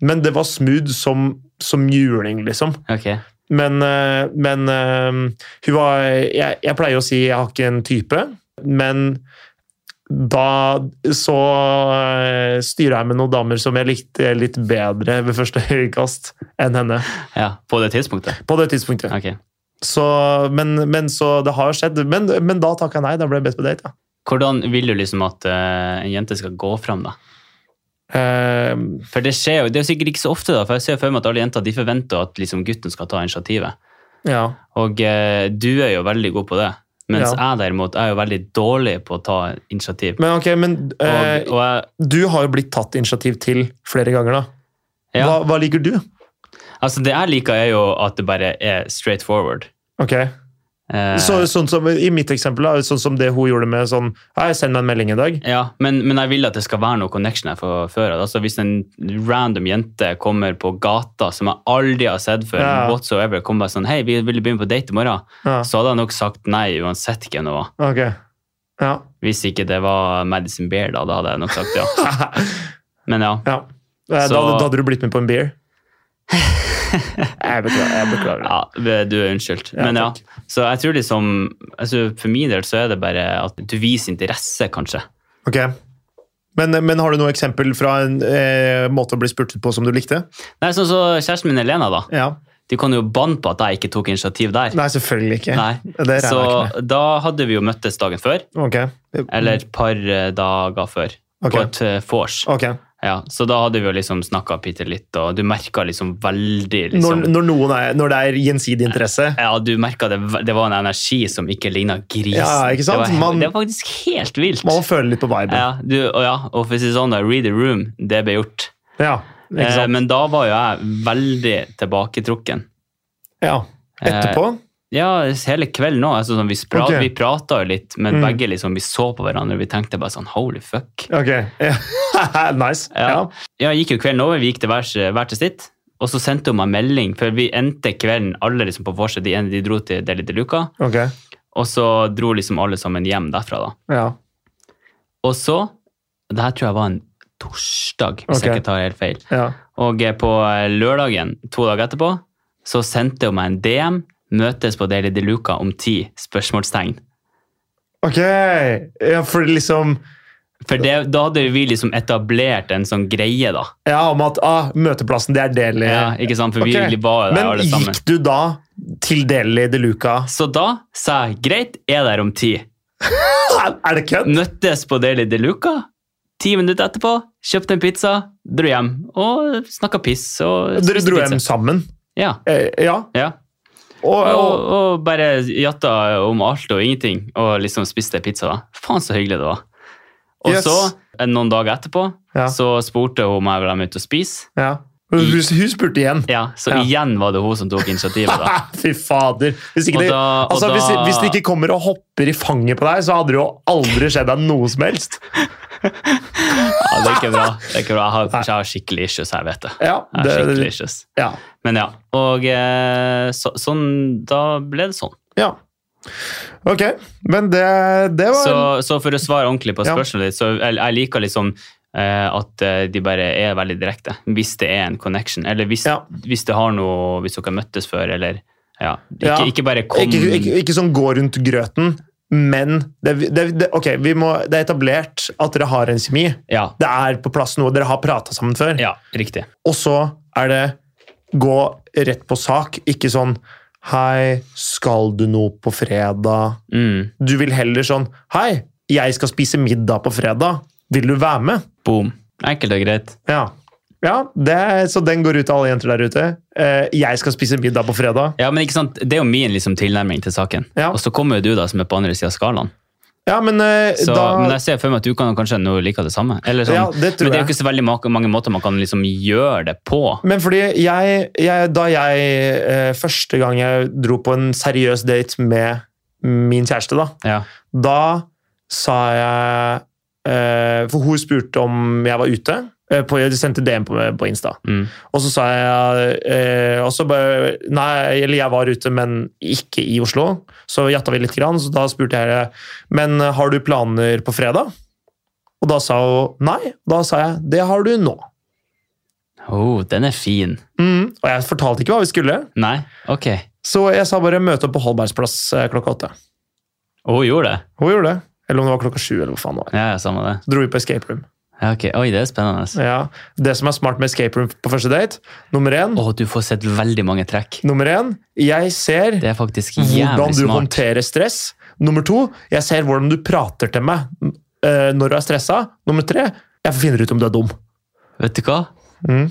Speaker 1: Men det var smooth som, som juling, liksom.
Speaker 2: Ok.
Speaker 1: Men, eh, men eh, hun var jeg, jeg pleier å si jeg har ikke en type, men da så eh, styra jeg med noen damer som jeg likte litt bedre ved første øyekast enn henne.
Speaker 2: Ja, På det tidspunktet?
Speaker 1: På det tidspunktet.
Speaker 2: Ok.
Speaker 1: Så, men, men så det har skjedd. Men, men da takka jeg nei. Da ble jeg bedt på date. Ja.
Speaker 2: Hvordan vil du liksom at eh, en jente skal gå fram, da?
Speaker 1: Eh,
Speaker 2: For det skjer jo, det er jo sikkert ikke så ofte, da, for jeg ser jo for meg at alle jenter de forventer at liksom, gutten skal ta initiativet.
Speaker 1: ja.
Speaker 2: Og eh, du er jo veldig god på det, mens
Speaker 1: Ja.
Speaker 2: jeg derimot er jo veldig dårlig på å ta initiativ.
Speaker 1: Men ok, men
Speaker 2: Og,
Speaker 1: eh,
Speaker 2: og jeg,
Speaker 1: du har jo blitt tatt initiativ til flere ganger, da.
Speaker 2: ja,
Speaker 1: Hva, hva liker du?
Speaker 2: altså Det jeg liker, er jo at det bare er straight forward.
Speaker 1: Ok.
Speaker 2: Eh,
Speaker 1: Så, sånn som, I mitt eksempel, da, sånn som det hun gjorde med sånn Hei, send meg en melding i dag.
Speaker 2: Ja, men, men jeg vil at det skal være noe connection her fra før. av. Altså, hvis en random jente kommer på gata som jeg aldri har sett før,
Speaker 1: Ja.
Speaker 2: whatsoever, kommer bare sånn, hei, vi vil begynne på date i morgen,
Speaker 1: Ja,
Speaker 2: så hadde jeg nok sagt nei uansett hvem det var.
Speaker 1: ok. Ja.
Speaker 2: Hvis ikke det var Madison Beer, da, da hadde jeg nok sagt ja. Men ja,
Speaker 1: ja. Eh, Da,
Speaker 2: Så-
Speaker 1: da hadde du blitt med på en beer. Jeg beklager. Jeg beklager.
Speaker 2: ja det- du er unnskyldt.
Speaker 1: Ja,
Speaker 2: men ja,
Speaker 1: takk.
Speaker 2: så jeg tror liksom, altså, for min del så er det bare at du viser interesse, kanskje.
Speaker 1: Ok. Men, men har du noe eksempel fra en eh, måte å bli spurtet på som du likte?
Speaker 2: Nei, sånn så kjæresten min Elena da,
Speaker 1: Ja.
Speaker 2: de kan jo banne på at jeg ikke tok initiativ der.
Speaker 1: Nei, selvfølgelig ikke.
Speaker 2: Nei.
Speaker 1: Det regner
Speaker 2: Så
Speaker 1: jeg ikke med.
Speaker 2: da hadde vi jo møttes dagen før,
Speaker 1: Ok.
Speaker 2: eller et par eh, dager før,
Speaker 1: Ok.
Speaker 2: på et eh, vors.
Speaker 1: Ok.
Speaker 2: Ja, så da hadde vi jo liksom snakka bitte litt, og du merka liksom veldig liksom,
Speaker 1: Når, når, noen er, når det er gjensidig interesse
Speaker 2: Ja, du merka det, v- det var en energi som ikke ligna grisen.
Speaker 1: Ja, ikke sant?
Speaker 2: Det, var,
Speaker 1: Man-
Speaker 2: det var faktisk helt vilt.
Speaker 1: Man må føle litt på viben.
Speaker 2: Eh. Ja, du, og ja, og for å si det sånn, da, read the room, det ble gjort.
Speaker 1: Ja. Ikke
Speaker 2: Eh,
Speaker 1: sant?
Speaker 2: men da var jo jeg veldig tilbaketrukken.
Speaker 1: Ja.
Speaker 2: eh.
Speaker 1: Etterpå?
Speaker 2: Ja, hele kvelden nå. Altså, sånn, vi, spra-
Speaker 1: Ok.
Speaker 2: vi prata jo litt, men
Speaker 1: Mm.
Speaker 2: begge liksom, vi så på hverandre og vi tenkte bare sånn holy fuck.
Speaker 1: Ok. Ja. nice. Ja.
Speaker 2: Ja. Ja, gikk jo kvelden over, vi gikk til hver, hver til sitt. Og så sendte hun meg melding, for vi endte kvelden alle liksom på vorset. De, ene- de dro til Deli de Luca,
Speaker 1: Ok.
Speaker 2: og så dro liksom alle sammen hjem derfra. da.
Speaker 1: Ja.
Speaker 2: Og så Det her tror jeg var en torsdag, hvis
Speaker 1: Ok.
Speaker 2: jeg ikke tar helt feil.
Speaker 1: Ja.
Speaker 2: Og eh, på eh, lørdagen, to dager etterpå, så sendte hun meg en DM. Møtes på Deli de Luca om ti? spørsmålstegn.
Speaker 1: Ok! Ja, for liksom
Speaker 2: For det, da hadde vi liksom etablert en sånn greie, da.
Speaker 1: Ja, om at ah, møteplassen, det er Deli.
Speaker 2: Ja, ikke sant? For
Speaker 1: Ok.
Speaker 2: vi var jo der
Speaker 1: Men
Speaker 2: alle sammen.
Speaker 1: gikk du da til Deli de Luca?
Speaker 2: Så da sa jeg greit, jeg er der om ti.
Speaker 1: Er det kødd?
Speaker 2: Møttes på Deli de Luca. Ti minutter etterpå kjøpte en pizza, dro hjem og snakka piss. Og
Speaker 1: Dere
Speaker 2: spiste
Speaker 1: dro
Speaker 2: pizza.
Speaker 1: hjem sammen?
Speaker 2: Ja.
Speaker 1: Eh, ja.
Speaker 2: ja.
Speaker 1: Og,
Speaker 2: Og,
Speaker 1: og,
Speaker 2: og bare jatta om alt og ingenting og liksom spiste pizza. da. Faen, så hyggelig det var. Og
Speaker 1: Yes.
Speaker 2: så, eh, noen dager etterpå,
Speaker 1: Ja.
Speaker 2: så spurte hun meg om jeg ville ut og spise.
Speaker 1: ja. Hun, hun spurte igjen.
Speaker 2: Ja, så
Speaker 1: Ja.
Speaker 2: igjen var det hun som tok initiativet. da.
Speaker 1: Fy fader. Hvis, ikke
Speaker 2: Og
Speaker 1: det,
Speaker 2: da- og
Speaker 1: altså, hvis,
Speaker 2: da-
Speaker 1: hvis det ikke kommer og hopper i fanget på deg, så hadde det jo aldri skjedd deg noe som helst.
Speaker 2: Ja, det er ikke bra. Det er ikke bra. Jeg har, jeg har skikkelig issues, jeg vet det.
Speaker 1: Ja,
Speaker 2: Jeg
Speaker 1: det,
Speaker 2: har skikkelig issues.
Speaker 1: ja.
Speaker 2: Men ja, og eh, så, sånn, da ble det sånn.
Speaker 1: ja. Ok, men det, det var
Speaker 2: Så, så for å svare ordentlig på
Speaker 1: Ja.
Speaker 2: spørsmålet ditt, så jeg, jeg liker liksom eh, at eh, de bare er veldig direkte, hvis det er en connection, eller hvis,
Speaker 1: Ja.
Speaker 2: hvis det har noe, hvis dere møttes før, eller ja, ikke,
Speaker 1: Ja.
Speaker 2: ikke bare kom...
Speaker 1: ikke, ikke, ikke sånn gå rundt grøten, men det, det, det, ok, vi må, det er etablert at dere har en kjemi.
Speaker 2: Ja,
Speaker 1: Det er på plass noe dere har prata sammen før.
Speaker 2: ja, riktig.
Speaker 1: Og så er det gå rett på sak, ikke sånn Hei, skal du noe på fredag?
Speaker 2: Mm.
Speaker 1: Du vil heller sånn Hei, jeg skal spise middag på fredag. Vil du være med?
Speaker 2: Boom. Enkelt og greit.
Speaker 1: Ja. ja det, er- så den går ut til alle jenter der ute. Eh, jeg skal spise middag på fredag.
Speaker 2: Ja, men ikke sant, det er jo min liksom, tilnærming til saken.
Speaker 1: Ja.
Speaker 2: Og så kommer jo du da, som er på andre siden av skalaen.
Speaker 1: Ja, men eh,
Speaker 2: Så,
Speaker 1: da
Speaker 2: men jeg ser for meg at du kan kanskje nå like det samme. Eller sånn.
Speaker 1: Ja, det tror
Speaker 2: men det er jo
Speaker 1: jeg.
Speaker 2: ikke så veldig ma- mange måter man kan liksom gjøre det på.
Speaker 1: Men fordi jeg, jeg Da jeg eh, Første gang jeg dro på en seriøs date med min kjæreste, da,
Speaker 2: Ja.
Speaker 1: Da sa jeg eh, For hun spurte om jeg var ute. eh, På, de sendte DM på, på Insta.
Speaker 2: Mm.
Speaker 1: Og så sa jeg eh, og så bare, Nei, eller jeg var ute, men ikke i Oslo. Så jatta vi litt, grann, så da spurte jeg Men har du planer på fredag? Og da sa hun nei. Da sa jeg det har du nå.
Speaker 2: Oh, den er fin.
Speaker 1: Mm. Og jeg fortalte ikke hva vi skulle,
Speaker 2: Nei? Ok.
Speaker 1: så jeg sa bare møte opp på Holbergsplass eh, klokka åtte.
Speaker 2: Å, hun gjorde det?
Speaker 1: Hun gjorde det. Eller om det var klokka sju, eller hva faen det var.
Speaker 2: Ja, ja, samme det.
Speaker 1: Så dro vi på escape room.
Speaker 2: Ja, ok. Oi, det er spennende.
Speaker 1: Ja, Det som er smart med escape room på første date Nummer én,
Speaker 2: Å, du får sett veldig mange trekk.
Speaker 1: nummer én jeg ser
Speaker 2: Det er faktisk
Speaker 1: hvordan
Speaker 2: jævlig
Speaker 1: du
Speaker 2: smart.
Speaker 1: håndterer stress. Nummer to, jeg ser hvordan du prater til meg eh, når du er stressa. Nummer tre, jeg finner ut om du er dum.
Speaker 2: Vet du hva?
Speaker 1: Mm.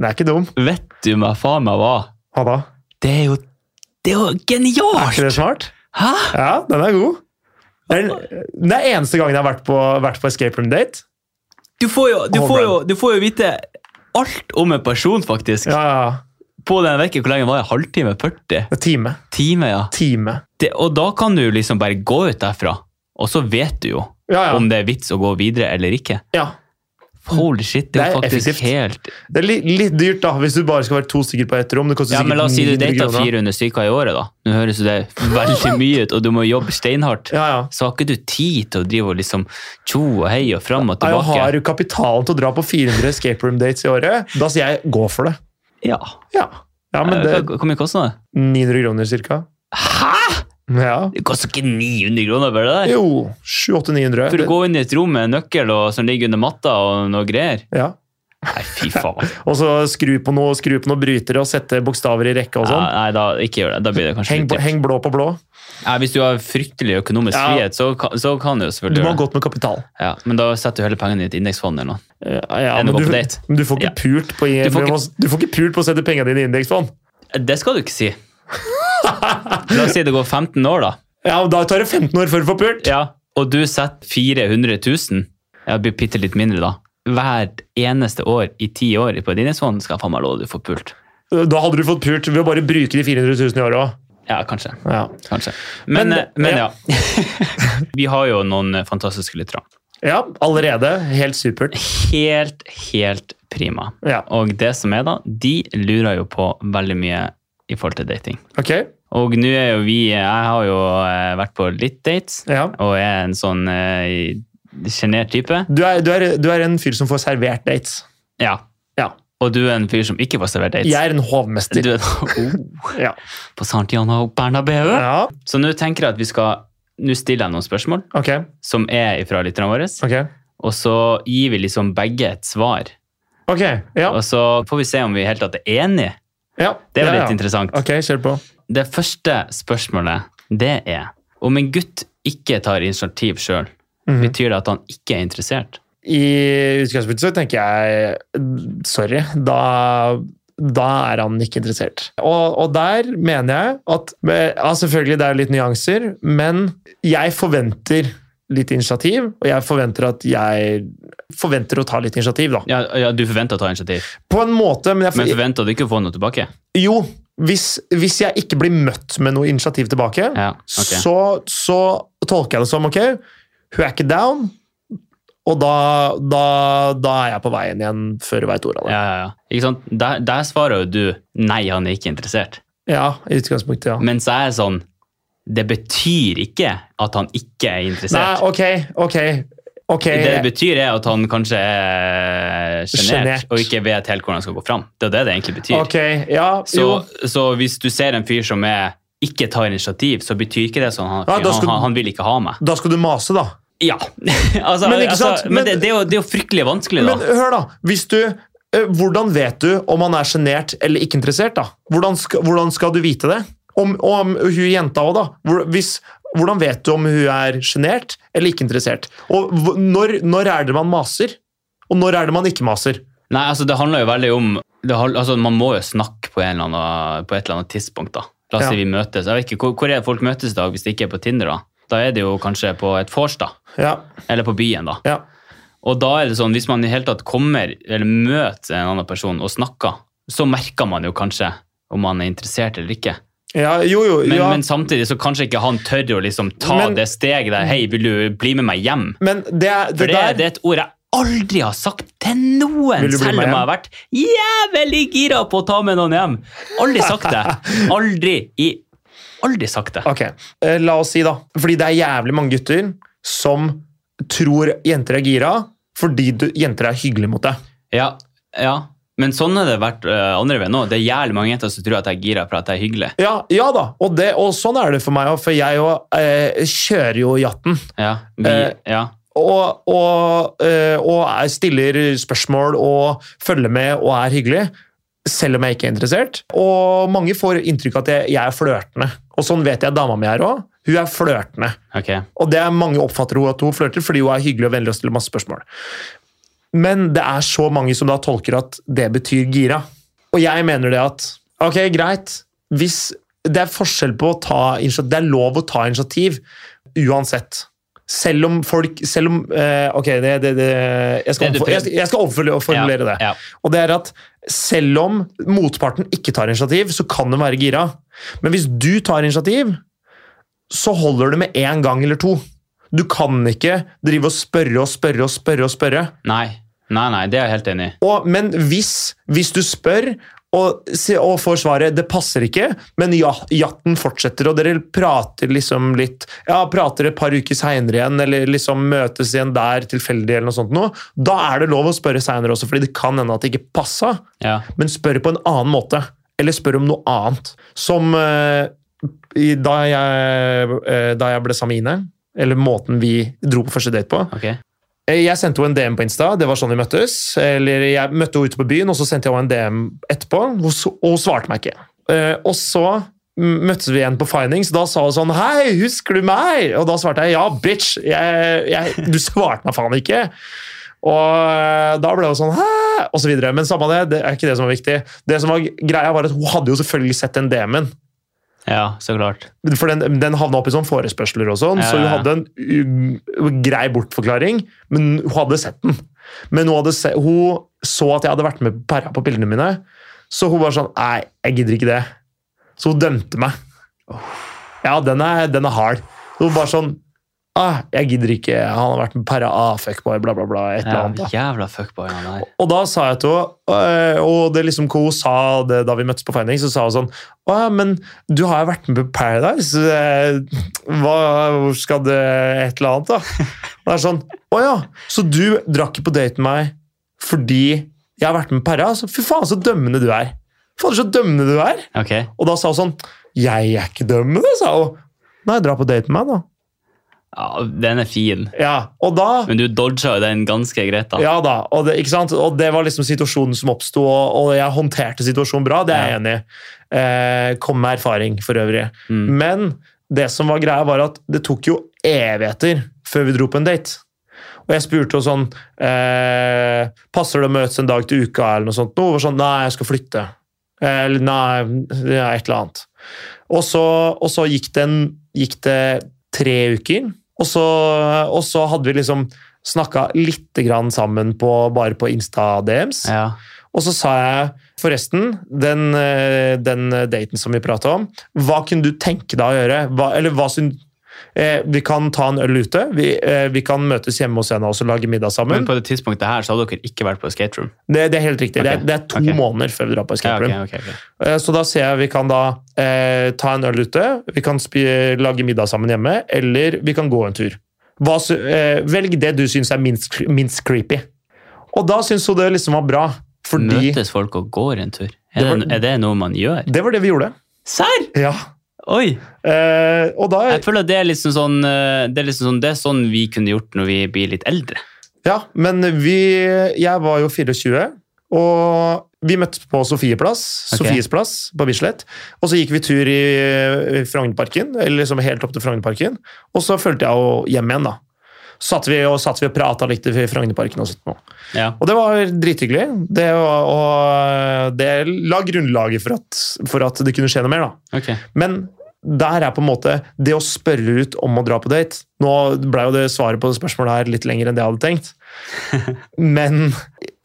Speaker 1: Det er ikke dum.
Speaker 2: Vet du meg faen meg hva?
Speaker 1: Ha da.
Speaker 2: Det er jo Det er jo
Speaker 1: Er ikke det
Speaker 2: genialt!
Speaker 1: smart?
Speaker 2: Hæ?
Speaker 1: Ja, den er god. Det er den det er eneste gangen jeg har vært på, vært på escape room-date.
Speaker 2: Du får, jo, du,
Speaker 1: Home
Speaker 2: får jo, du får jo vite alt om en person, faktisk.
Speaker 1: Ja, ja, ja.
Speaker 2: På den veken, hvor lenge var det? Halvtime? 40?
Speaker 1: Det er Time.
Speaker 2: Time, ja.
Speaker 1: Time.
Speaker 2: det, og da kan du liksom bare gå ut derfra, og så vet du jo
Speaker 1: Ja, ja.
Speaker 2: om det er vits å gå videre eller ikke.
Speaker 1: ja.
Speaker 2: Holy shit, det er jo
Speaker 1: Det er
Speaker 2: faktisk
Speaker 1: effektivt.
Speaker 2: helt
Speaker 1: Det er li litt dyrt, da, hvis du bare skal være to stykker på ett rom. Det koster
Speaker 2: Ja, men La oss si du
Speaker 1: sikkert 900
Speaker 2: dater
Speaker 1: kroner.
Speaker 2: 400 stykker i året, da. Nå høres jo det veldig mye ut, og du må jobbe steinhardt.
Speaker 1: Ja, ja.
Speaker 2: Så har ikke du tid til å drive og liksom tjo og hei og fram og
Speaker 1: Jeg har
Speaker 2: tilbake.
Speaker 1: jo kapitalen til å dra på 400 escape room dates i året. Da sier jeg gå for det.
Speaker 2: Ja.
Speaker 1: Ja, ja men det
Speaker 2: Eh, Hvor hvor mye kosta det?
Speaker 1: 900 kroner cirka.
Speaker 2: Hæ?!
Speaker 1: Ja.
Speaker 2: Det koster ikke 900 kroner for det der!
Speaker 1: Jo, 700-800-900.
Speaker 2: For å gå inn i et rom med en nøkkel og, som ligger under matta og noe greier.
Speaker 1: Ja.
Speaker 2: Nei, fy faen.
Speaker 1: Og så skru på noe, skru på noe brytere og sette bokstaver i rekke og
Speaker 2: Ja,
Speaker 1: sånn.
Speaker 2: nei, da, ikke gjør det. Da blir det kanskje
Speaker 1: Heng,
Speaker 2: litt
Speaker 1: på- heng blå på blå.
Speaker 2: Ja, hvis du har fryktelig økonomisk
Speaker 1: Ja.
Speaker 2: frihet, så kan, så kan du jo
Speaker 1: Du
Speaker 2: selvfølgelig
Speaker 1: må ha
Speaker 2: gjøre det.
Speaker 1: godt med kapital.
Speaker 2: Ja, men da setter du hele pengene i et indeksfond eller noe.
Speaker 1: Ja, ja,
Speaker 2: Enn å
Speaker 1: men
Speaker 2: gå
Speaker 1: du,
Speaker 2: på date.
Speaker 1: men du får ikke
Speaker 2: Ja.
Speaker 1: pult på i-
Speaker 2: Du får
Speaker 1: du må- du får ikke pult på å sette pengene dine i indeksfond.
Speaker 2: Det skal du ikke si. La oss si det går 15 år, da.
Speaker 1: Ja, og Da tar det 15 år før du får pult!
Speaker 2: Ja, og du setter 400 000, ja, det blir bitte litt mindre da, hvert eneste år i ti år på et indeksfond, skal jeg faen meg love du får pult.
Speaker 1: Da hadde du fått pult ved å bare bruke de 400 000 i året òg.
Speaker 2: Ja, kanskje.
Speaker 1: Ja.
Speaker 2: kanskje. Men,
Speaker 1: Men-
Speaker 2: eh, men ja. Vi har jo noen eh, fantastiske lyttere.
Speaker 1: ja, allerede. Helt supert.
Speaker 2: Helt, helt prima.
Speaker 1: Ja,
Speaker 2: Og det som er, da, de lurer jo på veldig mye i forhold til dating.
Speaker 1: ok.
Speaker 2: Og nå er jo vi Jeg har jo eh, vært på litt dates,
Speaker 1: Ja.
Speaker 2: og er en sånn eh, sjenert type.
Speaker 1: Du, er, du, er, du er en fyr som får servert dates.
Speaker 2: Ja.
Speaker 1: Ja.
Speaker 2: Og du er en fyr som ikke får servert dates.
Speaker 1: Jeg er en hovmester.
Speaker 2: Du er oh,
Speaker 1: Ja.
Speaker 2: på Santiano Bernabeu.
Speaker 1: ja,
Speaker 2: Så nå tenker jeg at vi skal Nå stiller jeg noen spørsmål
Speaker 1: ok.
Speaker 2: som er fra lytterne våre,
Speaker 1: Ok,
Speaker 2: og så gir vi liksom begge et svar.
Speaker 1: ok. Ja.
Speaker 2: Og så får vi se om vi i det hele tatt er enige.
Speaker 1: ja.
Speaker 2: Det er jo
Speaker 1: ja,
Speaker 2: litt
Speaker 1: ja.
Speaker 2: interessant.
Speaker 1: Ok, kjør på.
Speaker 2: Det første spørsmålet, det er om en gutt ikke tar initiativ sjøl,
Speaker 1: Mhm.
Speaker 2: betyr det at han ikke er interessert?
Speaker 1: I utgangspunktet så tenker jeg sorry, da, da er han ikke interessert. Og, og der mener jeg at ja, Selvfølgelig det er litt nyanser, men jeg forventer litt initiativ, og jeg forventer at jeg forventer å ta litt initiativ, da.
Speaker 2: Ja, ja du forventer å ta initiativ,
Speaker 1: På en måte, men jeg
Speaker 2: men forventer du ikke å få noe tilbake?
Speaker 1: Jo, hvis, hvis jeg ikke blir møtt med noe initiativ tilbake,
Speaker 2: Ja, ok.
Speaker 1: så, så tolker jeg det som ok, hun er ikke down, og da, da, da er jeg på veien igjen før jeg vet ordet av det.
Speaker 2: Ja, ja, ja. Ikke sant? Der, der svarer jo du nei, han er ikke interessert.
Speaker 1: Ja, i utgangspunktet, ja.
Speaker 2: Mens jeg er sånn Det betyr ikke at han ikke er
Speaker 1: Nei,
Speaker 2: interessert.
Speaker 1: ok, ok, ok.
Speaker 2: det det betyr, er at han kanskje er sjenert
Speaker 1: Sjenert.
Speaker 2: og ikke vet helt hvordan han skal gå fram. Det er jo det det egentlig betyr.
Speaker 1: Ok, ja,
Speaker 2: Så,
Speaker 1: jo.
Speaker 2: så hvis du ser en fyr som er, ikke tar initiativ, så betyr ikke det sånn han,
Speaker 1: Ja, da skal-
Speaker 2: han, han, han vil ikke ha meg.
Speaker 1: Da skal du mase, da.
Speaker 2: Ja. altså,
Speaker 1: Men ikke
Speaker 2: altså,
Speaker 1: sant?
Speaker 2: men
Speaker 1: Men-
Speaker 2: det, det, er jo, det er jo fryktelig vanskelig, da.
Speaker 1: Men hør, da. Hvis du eh, Hvordan vet du om han er sjenert eller ikke interessert? da? Hvordan skal, hvordan skal du vite det? Om, om hun jenta òg, da. Hvor, hvis, hvordan vet du om hun er sjenert eller ikke interessert? Og hv- når, når er det man maser? Og når er det man ikke maser?
Speaker 2: Nei, altså, det handler jo veldig om det, hal- altså, Man må jo snakke på, en eller annen, på et eller annet tidspunkt, da. La oss
Speaker 1: Ja.
Speaker 2: si vi møtes. Jeg vet ikke, hvor, hvor er det folk møtes i dag hvis det ikke er på Tinder? Da Da er det jo kanskje på et vors, da.
Speaker 1: Ja,
Speaker 2: Eller på byen, da.
Speaker 1: ja,
Speaker 2: Og da er det sånn, hvis man i hele tatt kommer eller møter en annen person og snakker, så merker man jo kanskje om han er interessert eller ikke.
Speaker 1: ja Jo, jo.
Speaker 2: Men,
Speaker 1: ja.
Speaker 2: men samtidig så kanskje ikke han tør å liksom ta
Speaker 1: Men-
Speaker 2: det steget der. Hei, vil du bli med meg hjem?
Speaker 1: Men det, er-
Speaker 2: For
Speaker 1: det
Speaker 2: det, er-
Speaker 1: der
Speaker 2: det er et ord jeg aldri har sagt til noen,
Speaker 1: Vil du bli
Speaker 2: selv om
Speaker 1: med
Speaker 2: jeg
Speaker 1: hjem?
Speaker 2: har vært jævlig gira på å ta med noen hjem. Aldri sagt det. Aldri i Aldri sagt det.
Speaker 1: Ok, eh, la oss si da Fordi det er jævlig mange gutter som tror jenter er gira fordi du, jenter er hyggelige mot deg.
Speaker 2: Ja, ja. Men sånn har det vært eh, andre veien òg. Det er jævlig mange jenter som tror at jeg er gira for at jeg er hyggelig.
Speaker 1: Ja, ja da, og, det, og sånn er det for meg òg, for jeg òg eh, kjører jo jatten.
Speaker 2: Ja, vi,
Speaker 1: Eh,
Speaker 2: ja.
Speaker 1: Og, og, eh, og er, stiller spørsmål og følger med og er hyggelig, selv om jeg ikke er interessert. Og mange får inntrykk av at jeg, jeg er flørtende, og sånn vet jeg dama mi er òg. Hun er flørtende.
Speaker 2: Ok.
Speaker 1: Og det er mange oppfatter hun at hun flørter, fordi hun er hyggelig og vennlig og stiller masse spørsmål. Men det er så mange som da tolker at det betyr gira. Og jeg mener det at ok, greit, hvis det er forskjell på å ta initiativ, det er lov å ta initiativ uansett. Selv om folk Selv om eh, Ok, det, det, det, jeg skal,
Speaker 2: Det du
Speaker 1: omfor, jeg, jeg skal omformulere det.
Speaker 2: Ja,
Speaker 1: Og det er at selv om motparten ikke tar initiativ, så kan den være gira. Men hvis du tar initiativ, så holder det med én gang eller to. Du kan ikke drive og spørre og spørre og spørre. Og spørre.
Speaker 2: Nei. nei, nei, det er jeg helt enig i.
Speaker 1: Og, men hvis, hvis du spør og, se- og får svaret 'det passer ikke', men ja, jatten fortsetter, og dere prater liksom litt ja, prater et par uker seinere igjen, eller liksom møtes igjen der tilfeldig, eller noe sånt, noe, da er det lov å spørre seinere også, fordi det kan hende at det ikke passa
Speaker 2: Ja.
Speaker 1: men spør på en annen måte. Eller spør om noe annet. Som eh, i, da, jeg, eh, da jeg ble sammen med Ine, eller måten vi dro på første date på.
Speaker 2: Ok.
Speaker 1: Eh, Jeg sendte henne en DM på Insta, det var sånn vi møttes. Eller jeg møtte henne ute på byen, og så sendte jeg henne en DM etterpå, og så- og hun svarte meg ikke. Eh, og så m- møttes vi igjen på Findings, da sa hun sånn Hei, husker du meg? Og da svarte jeg ja, bitch. Jeg, jeg, du svarte meg faen ikke. Og eh, da ble hun sånn Hæ? Og så videre. Men samme det, det er ikke det som var viktig. Det som var greia, var at hun hadde jo selvfølgelig sett den DM-en.
Speaker 2: Ja, så klart.
Speaker 1: For den, den havna opp i sånne forespørsler og sånn,
Speaker 2: Ja,
Speaker 1: så hun
Speaker 2: ja, ja.
Speaker 1: hadde en u- grei bortforklaring, men hun hadde sett den. Men hun, hadde se, hun så at jeg hadde vært med på perra på bildene mine, Så hun var sånn Nei, jeg gidder ikke det. Så hun dømte meg. Ja, den er, den er hard. Hun bare sånn ah, Jeg gidder ikke. Han har vært med para ah, fuckboy, bla, bla, bla. Et eller
Speaker 2: Ja,
Speaker 1: annet. da.
Speaker 2: jævla fuckboy han der.
Speaker 1: Og da sa jeg til henne, øh, og det liksom hvor hun sa det da vi møttes på Finding, så sa hun sånn Å ja, men du har jo vært med på Paradise. eh, Hva hvor skal det Et eller annet, da. Og det er sånn Å ja, så du drakk ikke på date med meg fordi jeg har vært med på Paradise? Altså, Fy faen, så dømmende du er. Fader, så dømmende du er.
Speaker 2: Ok.
Speaker 1: Og da sa hun sånn Jeg er ikke dømmende, sa hun. Nei, dra på date med meg, da.
Speaker 2: Ja, den er fin.
Speaker 1: Ja, og da
Speaker 2: Men du dodga jo den ganske greit, da.
Speaker 1: Ja da, og det, ikke sant? Og det var liksom situasjonen som oppsto, og, og jeg håndterte situasjonen bra, det er jeg
Speaker 2: Ja.
Speaker 1: enig i. Eh, kom med erfaring for øvrig.
Speaker 2: Mm.
Speaker 1: Men det som var greia, var at det tok jo evigheter før vi dro på en date. Og jeg spurte henne sånn eh, Passer det å møtes en dag til uka, eller noe sånt? Og hun var sånn Nei, jeg skal flytte. Eh, Eller nei, ja, et eller annet. Og så, og så gikk, det en, gikk det tre uker, og så, og så hadde vi liksom snakka lite grann sammen på, bare på Insta-DMs.
Speaker 2: Ja.
Speaker 1: Og så sa jeg forresten, den, eh, den daten som vi prata om, hva kunne du tenke deg å gjøre? Hva, eller hva syn- eh, Vi kan ta en øl ute, vi, eh, vi kan møtes hjemme hos henne og lage middag sammen.
Speaker 2: Men på det tidspunktet her så hadde dere ikke vært på skate room.
Speaker 1: det, det er helt riktig. Det, er,
Speaker 2: Ok,
Speaker 1: det er to
Speaker 2: ok.
Speaker 1: måneder før vi drar på escape
Speaker 2: Ja,
Speaker 1: room.
Speaker 2: ok, ok, ok.
Speaker 1: Eh, Så da ser jeg vi kan da eh, ta en øl ute, vi kan spi, lage middag sammen hjemme, eller vi kan gå en tur. Hva, sy- eh, velg det du syns er minst, cre- minst creepy. Og da syns hun det liksom var bra, fordi
Speaker 2: Møtes folk og går en tur?
Speaker 1: Det
Speaker 2: Er det,
Speaker 1: var-
Speaker 2: er det noe man gjør?
Speaker 1: det var det vi gjorde.
Speaker 2: Serr?
Speaker 1: Ja.
Speaker 2: Oi!
Speaker 1: Eh, og da
Speaker 2: Jeg føler at det er liksom sånn eh, det er, liksom sånn, det er sånn vi kunne gjort når vi blir litt eldre.
Speaker 1: Ja, men vi Jeg var jo 24, og vi møttes på Sofieplass,
Speaker 2: Ok.
Speaker 1: Sofies plass på Bislett. Og så gikk vi tur i Frognerparken, eller liksom helt opp til Frognerparken. Og så fulgte jeg jo hjem igjen, da. Så Satt vi og, satt vi og prata litt i Frognerparken og sånt noe.
Speaker 2: Ja.
Speaker 1: Og det var drithyggelig. Det, var- og det la grunnlaget for at, for at det kunne skje noe mer, da.
Speaker 2: Ok.
Speaker 1: Men der er på en måte det å spørre ut om å dra på date Nå ble jo det svaret på det spørsmålet her litt lenger enn det jeg hadde tenkt. Men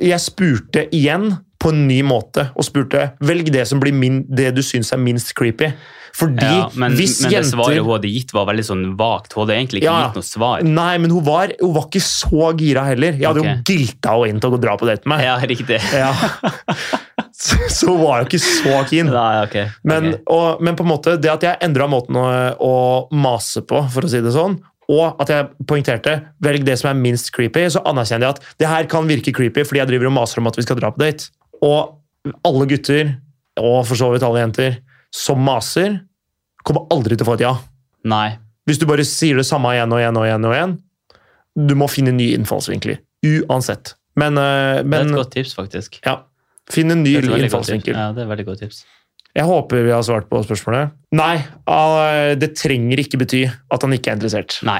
Speaker 1: jeg spurte igjen på en ny måte, og spurte velg det som blir min, det du syns er minst creepy. Fordi
Speaker 2: Ja, men,
Speaker 1: hvis
Speaker 2: men det
Speaker 1: jenter
Speaker 2: svaret hun hadde gitt, var veldig sånn vagt. Hun hadde egentlig ikke
Speaker 1: Ja.
Speaker 2: gitt noe svar.
Speaker 1: Nei, men hun var, hun var ikke så gira heller. Jeg hadde
Speaker 2: Ok.
Speaker 1: jo gilta henne inn til å gå og dra på date med meg.
Speaker 2: Ja, riktig.
Speaker 1: Ja. Så, så hun var jo ikke så keen.
Speaker 2: Nei, ok.
Speaker 1: Men,
Speaker 2: Ok.
Speaker 1: og, men på en måte, det at jeg endra måten å, å mase på, for å si det sånn, og at jeg poengterte velg det som er minst creepy, så anerkjenner jeg at det her kan virke creepy fordi jeg driver og maser om at vi skal dra på date. Og alle gutter, og for så vidt alle jenter, som maser, kommer aldri til å få et ja.
Speaker 2: Nei.
Speaker 1: Hvis du bare sier det samme igjen og igjen og igjen, og igjen du må finne nye innfallsvinkler. Uansett. Men, øh,
Speaker 2: Det er
Speaker 1: men
Speaker 2: et godt tips, faktisk.
Speaker 1: ja, finn en ny
Speaker 2: Det er et veldig godt tips.
Speaker 1: innfallsvinkel.
Speaker 2: Ja, det er et veldig godt tips.
Speaker 1: Jeg håper vi har svart på spørsmålet. Nei, ah, det trenger ikke bety at han ikke er interessert.
Speaker 2: Nei.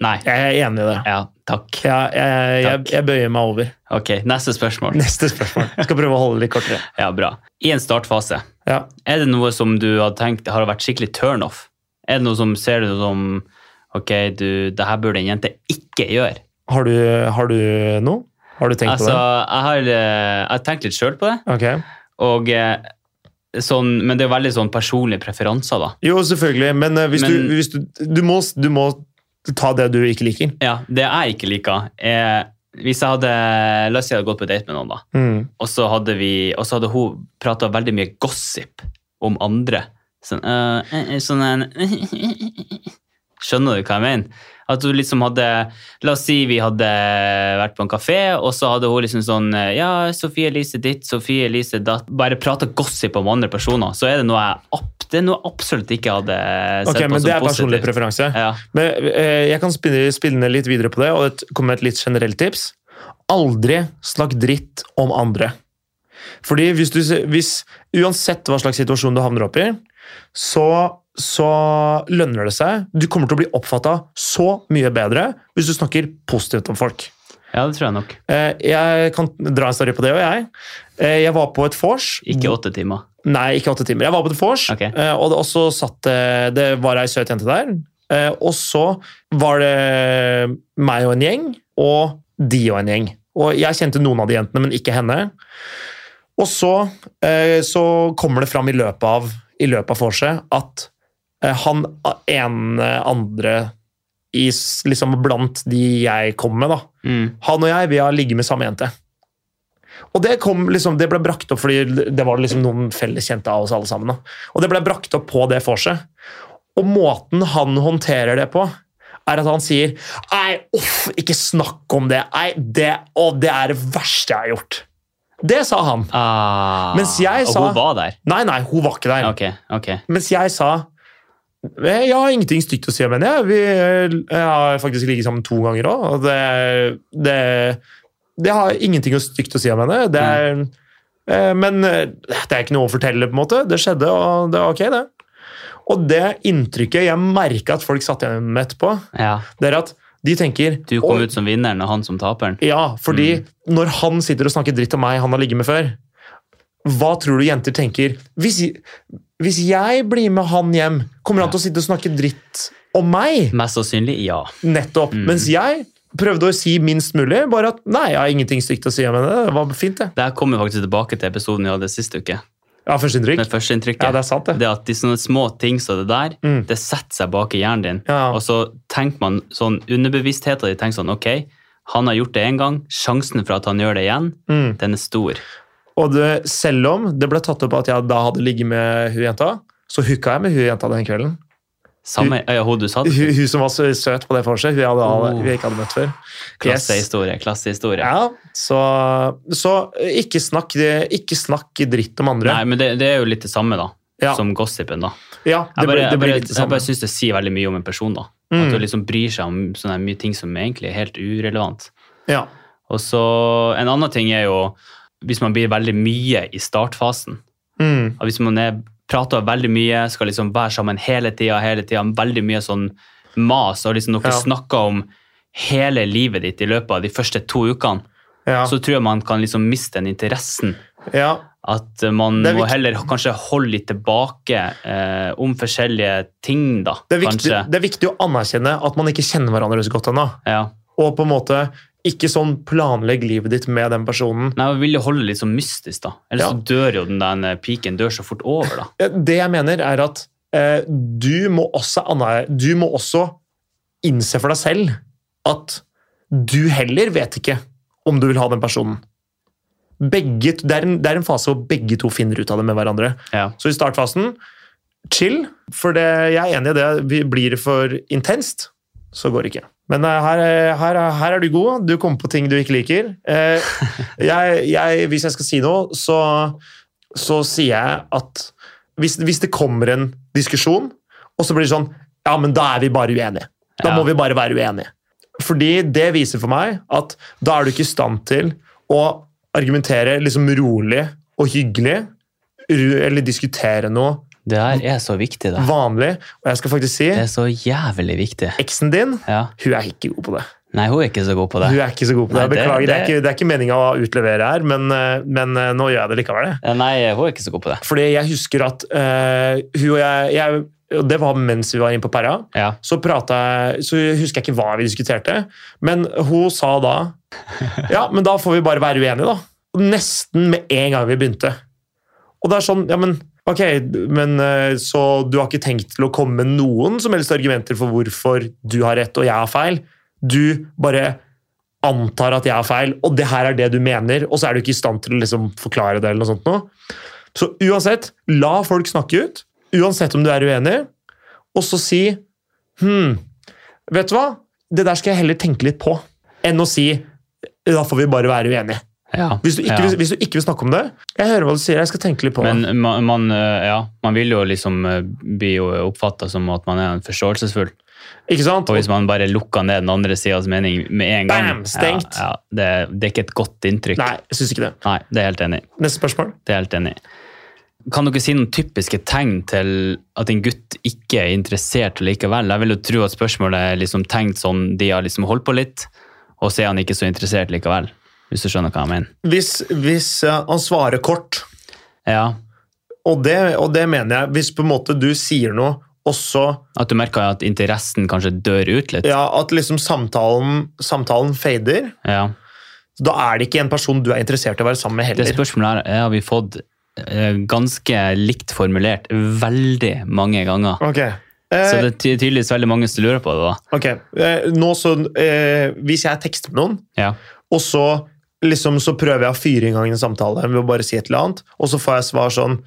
Speaker 2: Nei.
Speaker 1: Jeg er enig i det.
Speaker 2: Ja, takk.
Speaker 1: Jeg, jeg, jeg,
Speaker 2: Takk.
Speaker 1: jeg bøyer meg over.
Speaker 2: Ok, neste spørsmål.
Speaker 1: Neste spørsmål. Jeg skal prøve å holde det litt kortere.
Speaker 2: Ja, bra. I en startfase,
Speaker 1: Ja.
Speaker 2: er det noe som du har tenkt har vært skikkelig turn-off? Er det noe som ser du som Ok, du, det her burde en jente ikke gjøre.
Speaker 1: Har, du, har du noe? Har du tenkt
Speaker 2: Altså, jeg har, eh, jeg har tenkt litt sjøl på det,
Speaker 1: på det? Ok.
Speaker 2: og eh, sånn, men det er veldig sånn personlige preferanser, da.
Speaker 1: Jo, selvfølgelig, men eh, hvis,
Speaker 2: Men-
Speaker 1: du, hvis du, du, må, du må ta det du ikke liker.
Speaker 2: Ja, Det jeg ikke liker, er hvis jeg hadde La oss si jeg hadde gått på date med noen, da.
Speaker 1: Mm.
Speaker 2: Og så hadde, vi, og så hadde hun prata veldig mye gossip om andre. Sånn, øh, øh, øh, sånn en Skjønner du hva jeg mener? At hun liksom hadde La oss si vi hadde vært på en kafé, og så hadde hun liksom sånn øh, Ja, Sofie Elise ditt, Sofie Elise datt Bare prata gossip om andre personer. Så er det noe jeg, ab- det er noe jeg absolutt ikke hadde sett
Speaker 1: Ok,
Speaker 2: på
Speaker 1: men
Speaker 2: som
Speaker 1: Det er personlig
Speaker 2: positivt.
Speaker 1: preferanse.
Speaker 2: Ja.
Speaker 1: Men eh, Jeg kan spinne, spinne litt videre på det, og et, komme med et litt generelt tips. Aldri snakk dritt om andre. Fordi hvis du, hvis, uansett hva slags situasjon du havner opp i, så, så lønner det seg. Du kommer til å bli oppfatta så mye bedre hvis du snakker positivt om folk.
Speaker 2: ja, det tror jeg nok.
Speaker 1: Eh, Jeg kan dra en story på det og jeg. Eh, Jeg var på et vors.
Speaker 2: Ikke åtte timer.
Speaker 1: Nei, ikke åtte timer. Jeg var på The Force,
Speaker 2: Ok.
Speaker 1: eh, og det- og så satt det Det var ei søt jente der. eh, Og så var det meg og en gjeng, og de og en gjeng. Og jeg kjente noen av de jentene, men ikke henne. Og så, eh, så kommer det fram i løpet av, i løpet av vorset at eh, han ene andre i, s- liksom blant de jeg kom med, da,
Speaker 2: Mm.
Speaker 1: han og jeg, vi har ligget med samme jente. Og det, kom, liksom, det ble brakt opp fordi det var liksom noen felleskjente av oss alle sammen. Da. Og det ble brakt opp på det vorset. Og måten han håndterer det på, er at han sier Nei, uff, ikke snakk om det. Nei, det, å, det er det verste jeg har gjort. Det sa han.
Speaker 2: Ah,
Speaker 1: Mens jeg
Speaker 2: og
Speaker 1: sa-
Speaker 2: hun var der?
Speaker 1: Nei, nei, hun var ikke der.
Speaker 2: Ok, ok.
Speaker 1: Mens jeg sa "Eh, jeg har ingenting stygt å si om henne. jeg. Vi eh, jeg har faktisk ligget sammen to ganger òg. Og det, det, det har ingenting å stygt å si om henne. Det er, eh, Men eh, det er ikke noe å fortelle, på en måte. Det skjedde, og det var ok, det. Og det inntrykket jeg merka at folk satt igjen med etterpå,
Speaker 2: Ja.
Speaker 1: det er at de tenker
Speaker 2: Du kom
Speaker 1: «Oi,
Speaker 2: ut som vinneren og han som taperen.
Speaker 1: ja, fordi når han sitter og snakker dritt om meg han har ligget med før, hva tror du jenter tenker? Hvis, hvis jeg blir med han hjem, kommer han til å sitte og snakke dritt om meg?
Speaker 2: Mest sannsynlig ja.
Speaker 1: Nettopp. Mens jeg prøvde å si minst mulig, bare at nei, jeg har ingenting stygt å si om henne. Det var fint, det.
Speaker 2: Det her kommer vi faktisk tilbake til episoden vi hadde sist uke.
Speaker 1: Ja, førsteinntrykk.
Speaker 2: Med førsteinntrykket.
Speaker 1: Ja, det er sant, det.
Speaker 2: Det at de sånne små ting som det der,
Speaker 1: Mm.
Speaker 2: det setter seg bak i hjernen din.
Speaker 1: Ja.
Speaker 2: Og så tenker man sånn, underbevisstheten din tenker sånn, ok, han har gjort det en gang, sjansen for at han gjør det igjen,
Speaker 1: Mm.
Speaker 2: den er stor.
Speaker 1: Og det, selv om det ble tatt opp at jeg da hadde ligget med hun jenta, så hooka jeg med hun jenta den kvelden.
Speaker 2: Samme øya hodet du satt.
Speaker 1: Hun, hun som var så søt på det vorset, hun jeg hadde-
Speaker 2: Oh.
Speaker 1: hun jeg ikke hadde møtt før. Yes.
Speaker 2: Klassehistorie, klassehistorie.
Speaker 1: Ja, så, så eh, ikke, snakk, ikke snakk dritt om andre.
Speaker 2: Nei, men det, det er jo litt det samme da,
Speaker 1: Ja.
Speaker 2: som gossipen da.
Speaker 1: ja, det,
Speaker 2: Jeg bare,
Speaker 1: blir- det
Speaker 2: jeg
Speaker 1: blir
Speaker 2: bare,
Speaker 1: litt sånn. det
Speaker 2: jeg
Speaker 1: samme.
Speaker 2: bare synes det sier veldig mye om en person da.
Speaker 1: Mm.
Speaker 2: At du liksom bryr seg om sånne mye ting som egentlig er helt urelevant.
Speaker 1: Ja,
Speaker 2: Og så en annen ting er jo, hvis man blir veldig mye i startfasen,
Speaker 1: mm,
Speaker 2: Og hvis man er, prater veldig mye, skal liksom være sammen hele tida, hele tida, veldig mye sånn mas, og liksom dere
Speaker 1: Ja.
Speaker 2: snakker om hele livet ditt i løpet av de første to ukene,
Speaker 1: ja,
Speaker 2: så tror jeg man kan liksom miste den interessen.
Speaker 1: ja,
Speaker 2: At eh, man
Speaker 1: Det er
Speaker 2: må
Speaker 1: viktig-
Speaker 2: heller kanskje holde litt tilbake eh, om forskjellige ting, da.
Speaker 1: det, er viktig,
Speaker 2: Kanskje.
Speaker 1: det er viktig å anerkjenne at man ikke kjenner hverandre så godt ennå.
Speaker 2: Ja.
Speaker 1: Og på en måte ikke sånn planlegg livet ditt med den personen.
Speaker 2: Nei, man vil jo holde det litt sånn mystisk, da. Ellers
Speaker 1: Ja.
Speaker 2: så dør jo den der eh, piken dør så fort over, da.
Speaker 1: Det jeg mener, er at eh, du, må også aner, du må også innse for deg selv at du heller vet ikke om du vil ha den personen. Begge, det, er en, det er en fase hvor begge to finner ut av det med hverandre.
Speaker 2: Ja.
Speaker 1: Så i startfasen chill, for det, jeg er enig i det. Vi blir det for intenst, så går det ikke. Men eh, her, er- her, er- her er du god. Du kommer på ting du ikke liker. Eh, Jeg, jeg, hvis jeg skal si noe, så, så sier jeg at hvis, hvis det kommer en diskusjon, og så blir det sånn Ja, men da er vi bare uenige. Da
Speaker 2: Ja.
Speaker 1: må vi bare være uenige. Fordi det viser for meg at da er du ikke i stand til å argumentere liksom rolig og hyggelig, ru- eller diskutere noe
Speaker 2: Det her er så viktig, da.
Speaker 1: vanlig. Og jeg skal faktisk si
Speaker 2: Det er så jævlig viktig.
Speaker 1: eksen din
Speaker 2: Ja.
Speaker 1: hun er ikke god på det.
Speaker 2: Nei, hun er ikke så god på det.
Speaker 1: Hun er ikke så god på det.
Speaker 2: Nei,
Speaker 1: Jeg
Speaker 2: det-
Speaker 1: beklager, det, er
Speaker 2: det-
Speaker 1: ikke, det er ikke meninga å utlevere her, men, eh, men eh, nå gjør jeg det likevel. jeg.
Speaker 2: Ja, Nei, hun er ikke så god på det.
Speaker 1: Fordi jeg husker at eh, hun og jeg, jeg og Det var mens vi var inne på Perra.
Speaker 2: Ja.
Speaker 1: Så, pratet jeg, så husker jeg ikke hva vi diskuterte, men hun sa da Ja, men da får vi bare være uenige, da. Og Nesten med en gang vi begynte. Og det er sånn Ja, men ok, men eh, så du har ikke tenkt til å komme med noen som helst argumenter for hvorfor du har rett og jeg har feil? Du bare antar at jeg har feil, og det her er det du mener, og så er du ikke i stand til å liksom forklare det eller noe sånt noe. Så uansett, la folk snakke ut, uansett om du er uenig, og så si Hm, vet du hva? Det der skal jeg heller tenke litt på, enn å si da får vi bare være uenige.
Speaker 2: Ja.
Speaker 1: Hvis du ikke,
Speaker 2: ja.
Speaker 1: vil, hvis du ikke vil snakke om det, jeg hører hva du sier, jeg skal tenke litt på det.
Speaker 2: Men man, man, eh, ja, man vil jo liksom eh, bli oppfatta som at man er en forståelsesfull.
Speaker 1: Ikke sant?
Speaker 2: Og hvis man bare lukker ned den andre sidas mening med en gang
Speaker 1: Bam! Stengt.
Speaker 2: Ja, ja, det, det er ikke et godt inntrykk.
Speaker 1: Nei, jeg syns ikke det.
Speaker 2: Nei, det er jeg helt enig. i.
Speaker 1: Neste spørsmål.
Speaker 2: Det er jeg helt enig. i. Kan dere si noen typiske tegn til at en gutt ikke er interessert likevel? Jeg vil jo tro at spørsmålet er liksom tenkt sånn de har liksom holdt på litt, og så er han ikke så interessert likevel. Hvis du skjønner hva jeg mener.
Speaker 1: Hvis, hvis eh, han svarer kort,
Speaker 2: Ja,
Speaker 1: og det, og det mener jeg Hvis på en måte du sier noe, og så
Speaker 2: At du merker at interessen kanskje dør ut litt?
Speaker 1: ja, at liksom samtalen, samtalen fader,
Speaker 2: Ja.
Speaker 1: Så Da er det ikke en person du er interessert i å være sammen med
Speaker 2: Det
Speaker 1: heller.
Speaker 2: spørsmålet her har vi fått eh, ganske likt formulert veldig mange ganger.
Speaker 1: Ok. Eh,
Speaker 2: Så det er ty- tydeligvis veldig mange som lurer på det. da.
Speaker 1: ok. Eh, nå så, eh, hvis jeg tekster med noen,
Speaker 2: Ja.
Speaker 1: og så, liksom, så prøver jeg å fyre i gang en samtale ved å bare si et eller annet, og så får jeg svar sånn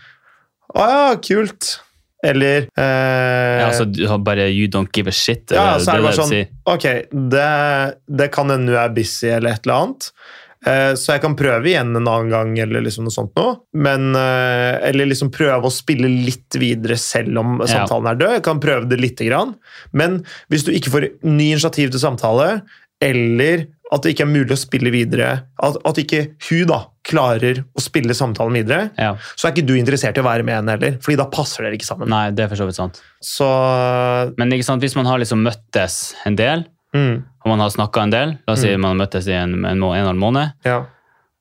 Speaker 1: Å ja, kult. Eller eh,
Speaker 2: Ja, altså, du har bare you don't give a shit.
Speaker 1: Ja,
Speaker 2: eller
Speaker 1: så er det
Speaker 2: det
Speaker 1: bare
Speaker 2: du
Speaker 1: sånn
Speaker 2: sier.
Speaker 1: Ok, det, det kan hende du er busy eller et eller annet. Eh, Så jeg kan prøve igjen en annen gang, eller liksom noe sånt noe. Men, eh, eller liksom prøve å spille litt videre selv om samtalen er død. Jeg kan prøve det lite grann. Men hvis du ikke får ny initiativ til samtale, eller at det ikke er mulig å spille videre At, at ikke hun da klarer å spille samtalen videre,
Speaker 2: Ja.
Speaker 1: så er ikke du interessert i å være med henne heller. Fordi da passer dere ikke sammen.
Speaker 2: Nei, det er for så vidt sant.
Speaker 1: Så
Speaker 2: Men ikke sant, hvis man har liksom møttes en del,
Speaker 1: mm,
Speaker 2: og man har snakka en del, la oss si man har møttes i en, en, må- en og en måned,
Speaker 1: ja.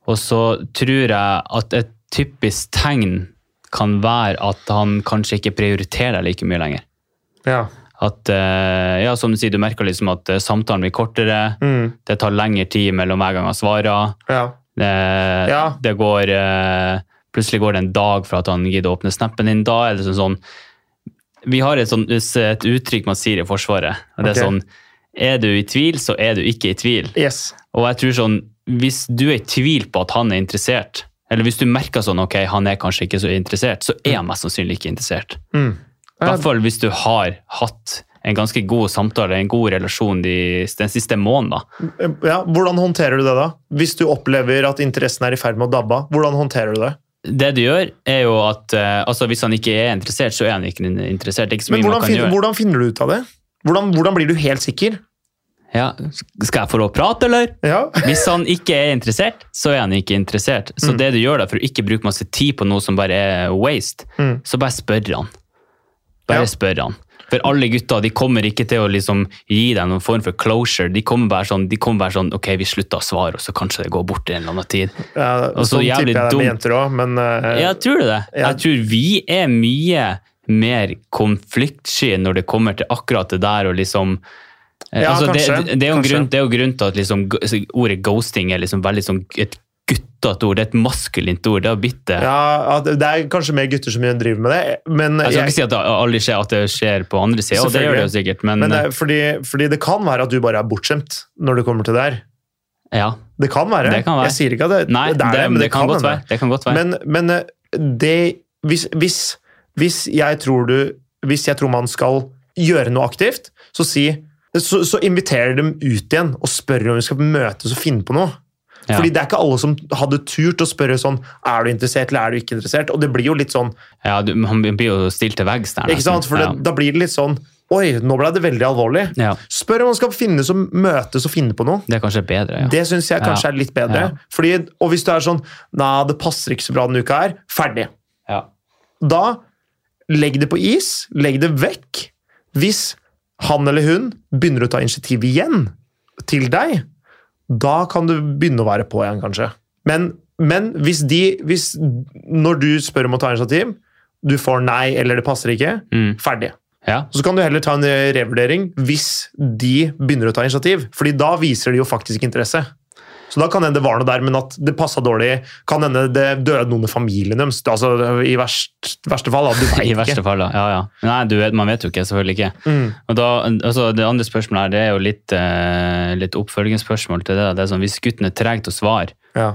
Speaker 2: og så tror jeg at et typisk tegn kan være at han kanskje ikke prioriterer like mye lenger.
Speaker 1: ja.
Speaker 2: At, eh, ja, som du sier, du merker liksom at eh, samtalen blir kortere,
Speaker 1: Mm,
Speaker 2: det tar lengre tid mellom hver gang han svarer,
Speaker 1: ja.
Speaker 2: det,
Speaker 1: Ja.
Speaker 2: det går, eh, plutselig går det en dag for at han gidder å åpne snappen din, da er det sånn sånn, vi har et, sånn, et uttrykk man sier i forsvaret, og det
Speaker 1: Ok.
Speaker 2: er sånn, er du i tvil, så er du ikke i tvil.
Speaker 1: Yes.
Speaker 2: Og jeg tror sånn, hvis du er i tvil på at han er interessert, eller hvis du merker sånn, ok, han er kanskje ikke så interessert, så er han mest sannsynlig ikke interessert.
Speaker 1: Mm.
Speaker 2: I hvert fall hvis du har hatt en ganske god samtale, en god relasjon de, den siste måneden. Da.
Speaker 1: Ja, hvordan håndterer du det, da? Hvis du opplever at interessen er i ferd med å dabbe av, hvordan håndterer du det?
Speaker 2: Det du gjør, er jo at eh, altså, hvis han ikke er interessert, så er han ikke interessert. Det er ikke så
Speaker 1: Men
Speaker 2: mye man
Speaker 1: hvordan,
Speaker 2: kan
Speaker 1: fin
Speaker 2: gjøre.
Speaker 1: hvordan finner du ut av det? Hvordan, hvordan blir du helt sikker?
Speaker 2: Ja, skal jeg få lov å prate, eller?
Speaker 1: Ja.
Speaker 2: Hvis han ikke er interessert, så er han ikke interessert.
Speaker 1: Mm.
Speaker 2: Så det du gjør da, for å ikke bruke masse tid på noe som bare er waste,
Speaker 1: Mm.
Speaker 2: så bare spør han. Bare
Speaker 1: Ja.
Speaker 2: spør han. For alle gutta de kommer ikke til å liksom gi deg noen form for closure. De kommer bare sånn, de kommer bare sånn Ok, vi slutter å svare, og så kanskje det går bort i en eller annen tid.
Speaker 1: ja
Speaker 2: Og så
Speaker 1: sånn tipper
Speaker 2: jævlig
Speaker 1: jeg det er med
Speaker 2: dumt.
Speaker 1: jenter òg, men eh,
Speaker 2: Ja, tror du det?
Speaker 1: ja.
Speaker 2: Jeg tror vi er mye mer konfliktsky når det kommer til akkurat det der og liksom eh,
Speaker 1: Ja,
Speaker 2: altså,
Speaker 1: kanskje,
Speaker 2: det, det, er jo en
Speaker 1: kanskje.
Speaker 2: grunn, det er jo en grunn til at liksom, g- altså, ordet ghosting er liksom veldig sånn et guttete ord. Det er et maskulint ord. Det har blitt det.
Speaker 1: ja, at Det er kanskje mer gutter som driver med det, men,
Speaker 2: Altså, Jeg skal
Speaker 1: jeg,
Speaker 2: ikke si at det aldri skjer at det skjer på andre sida, og det gjør det jo sikkert, men, eh,
Speaker 1: men det, er fordi, fordi det kan være at du bare er bortskjemt når det kommer til det her.
Speaker 2: eh, ja.
Speaker 1: Det kan være.
Speaker 2: Det kan være.
Speaker 1: Jeg sier ikke at det,
Speaker 2: Nei, det,
Speaker 1: det er det, men det,
Speaker 2: kan, godt
Speaker 1: hende.
Speaker 2: være. Det kan godt være.
Speaker 1: Men, men eh, det hvis, hvis, hvis jeg tror du Hvis jeg tror man skal gjøre noe aktivt, så si så, så inviterer dem ut igjen og spør om vi skal møtes og finne på noe.
Speaker 2: Ja.
Speaker 1: Fordi det er ikke alle som hadde turt å spørre sånn Er du interessert, eller er du ikke interessert? Og det blir jo litt sånn,
Speaker 2: ja, du, han blir jo stilt til veggs der.
Speaker 1: ikke sant? For det, da blir det litt sånn Oi, nå ble det veldig alvorlig.
Speaker 2: ja. ja,
Speaker 1: Spør om man skal finnes og møtes og finne på noe.
Speaker 2: det er kanskje bedre. Ja.
Speaker 1: Det syns jeg kanskje
Speaker 2: Ja.
Speaker 1: er litt bedre.
Speaker 2: Ja.
Speaker 1: Fordi, og hvis du er sånn Nei, det passer ikke så bra denne uka her. Ferdig.
Speaker 2: Ja.
Speaker 1: Da legg det på is, legg det vekk. Hvis han eller hun begynner å ta initiativ igjen til deg, da kan du begynne å være på igjen, kanskje. Men, men hvis de hvis, Når du spør om å ta initiativ, du får nei eller det passer ikke,
Speaker 2: Mm.
Speaker 1: ferdig.
Speaker 2: ja.
Speaker 1: Så kan du heller ta en revurdering hvis de begynner å ta initiativ. Fordi da viser de jo faktisk interesse. Så da kan hende det var noe der, men at det passa dårlig. Kan hende det døde noen i familien deres. Altså, I verst, verste fall, da. Du vet
Speaker 2: I verste
Speaker 1: ikke.
Speaker 2: fall, da. Ja, ja. Nei, du vet, man vet jo ikke. Selvfølgelig ikke.
Speaker 1: Mm.
Speaker 2: Og da, altså, det andre spørsmålet her, det er jo litt, eh, litt oppfølgingsspørsmål til det. da. Det er sånn, Hvis gutten er treg til å svare,
Speaker 1: Ja.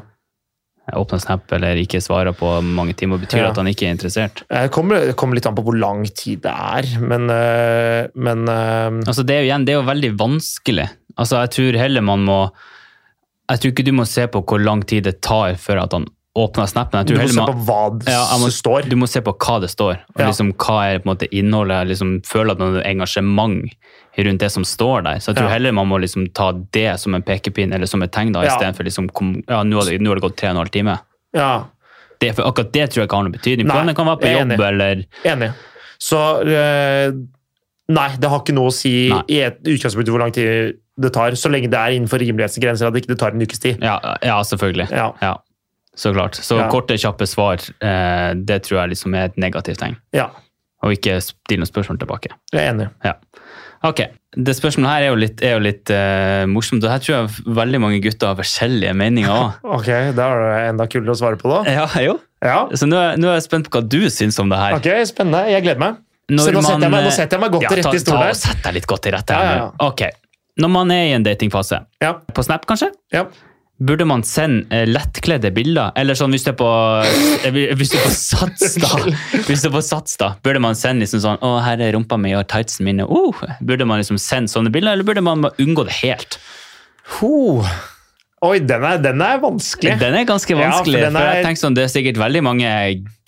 Speaker 2: åpner Snap eller ikke svarer på mange timer, betyr det
Speaker 1: Ja.
Speaker 2: at han ikke er interessert?
Speaker 1: Det Eh, kommer, det kommer litt an på hvor lang tid det er, men, øh, men øh,
Speaker 2: Altså, Det er jo igjen, det er jo veldig vanskelig. Altså, Jeg tror heller man må Jeg tror ikke du må se på hvor lang tid det tar før at han åpner Snapen. Jeg
Speaker 1: du
Speaker 2: tror
Speaker 1: må
Speaker 2: heller
Speaker 1: se
Speaker 2: man,
Speaker 1: på hva det
Speaker 2: Ja, jeg må-
Speaker 1: står.
Speaker 2: Du må se på hva det står, og
Speaker 1: Ja.
Speaker 2: liksom hva er på en måte innholdet. liksom Føle at man har engasjement rundt det som står der. Så jeg tror
Speaker 1: Ja.
Speaker 2: heller man må liksom ta det som en pekepinn eller som et tegn, da,
Speaker 1: Ja.
Speaker 2: istedenfor liksom kom, ja, nå har, det, nå har det gått tre og en halv time.
Speaker 1: Ja,
Speaker 2: Det, for akkurat det tror jeg ikke har noen betydning.
Speaker 1: Nei,
Speaker 2: for det kan være på
Speaker 1: jeg er
Speaker 2: jobb
Speaker 1: enig.
Speaker 2: eller
Speaker 1: enig. Så øh, Nei, det har ikke noe å si
Speaker 2: Nei.
Speaker 1: i et utgangspunkt hvor lang tid det tar, så lenge det er innenfor rimelighetsgrenser at det ikke tar en ukes tid.
Speaker 2: Ja, ja selvfølgelig.
Speaker 1: Ja.
Speaker 2: Ja. Så klart. Så
Speaker 1: Ja.
Speaker 2: korte, kjappe svar, eh, det tror jeg liksom er et negativt tegn.
Speaker 1: Ja.
Speaker 2: Og ikke stille noen spørsmål tilbake.
Speaker 1: Jeg er enig.
Speaker 2: Ok, Det spørsmålet her er jo litt, er jo litt eh, morsomt, og her tror jeg veldig mange gutter har forskjellige meninger òg.
Speaker 1: Ok, da er det enda kulere å svare på, da.
Speaker 2: Ja, jo.
Speaker 1: Ja.
Speaker 2: Så nå, er- nå er jeg spent på hva du syns om det her.
Speaker 1: Ok, spennende. Jeg gleder meg.
Speaker 2: Når
Speaker 1: Så nå setter,
Speaker 2: man,
Speaker 1: jeg meg, nå
Speaker 2: eh,
Speaker 1: setter jeg meg godt
Speaker 2: ja,
Speaker 1: til rette i
Speaker 2: ta, ta og
Speaker 1: stolen.
Speaker 2: Sett deg litt godt til rette. her
Speaker 1: Ja, ja,
Speaker 2: nå. Ok, Når man er i en datingfase,
Speaker 1: Ja,
Speaker 2: på Snap kanskje,
Speaker 1: ja.
Speaker 2: burde man sende eh, lettkledde bilder? Eller sånn hvis du er på, eh, hvis du er på Sats, da. Hvis du er på sats da, Burde man sende liksom sånn 'Å, her er rumpa mi og tightsen mine'. Oh, burde man liksom sende sånne bilder, eller burde man bare unngå det helt?
Speaker 1: Ho. Oi, den er, den er vanskelig.
Speaker 2: Den er ganske
Speaker 1: Ja, for
Speaker 2: vanskelig.
Speaker 1: den
Speaker 2: for jeg
Speaker 1: er-
Speaker 2: tenker sånn, Det er sikkert veldig mange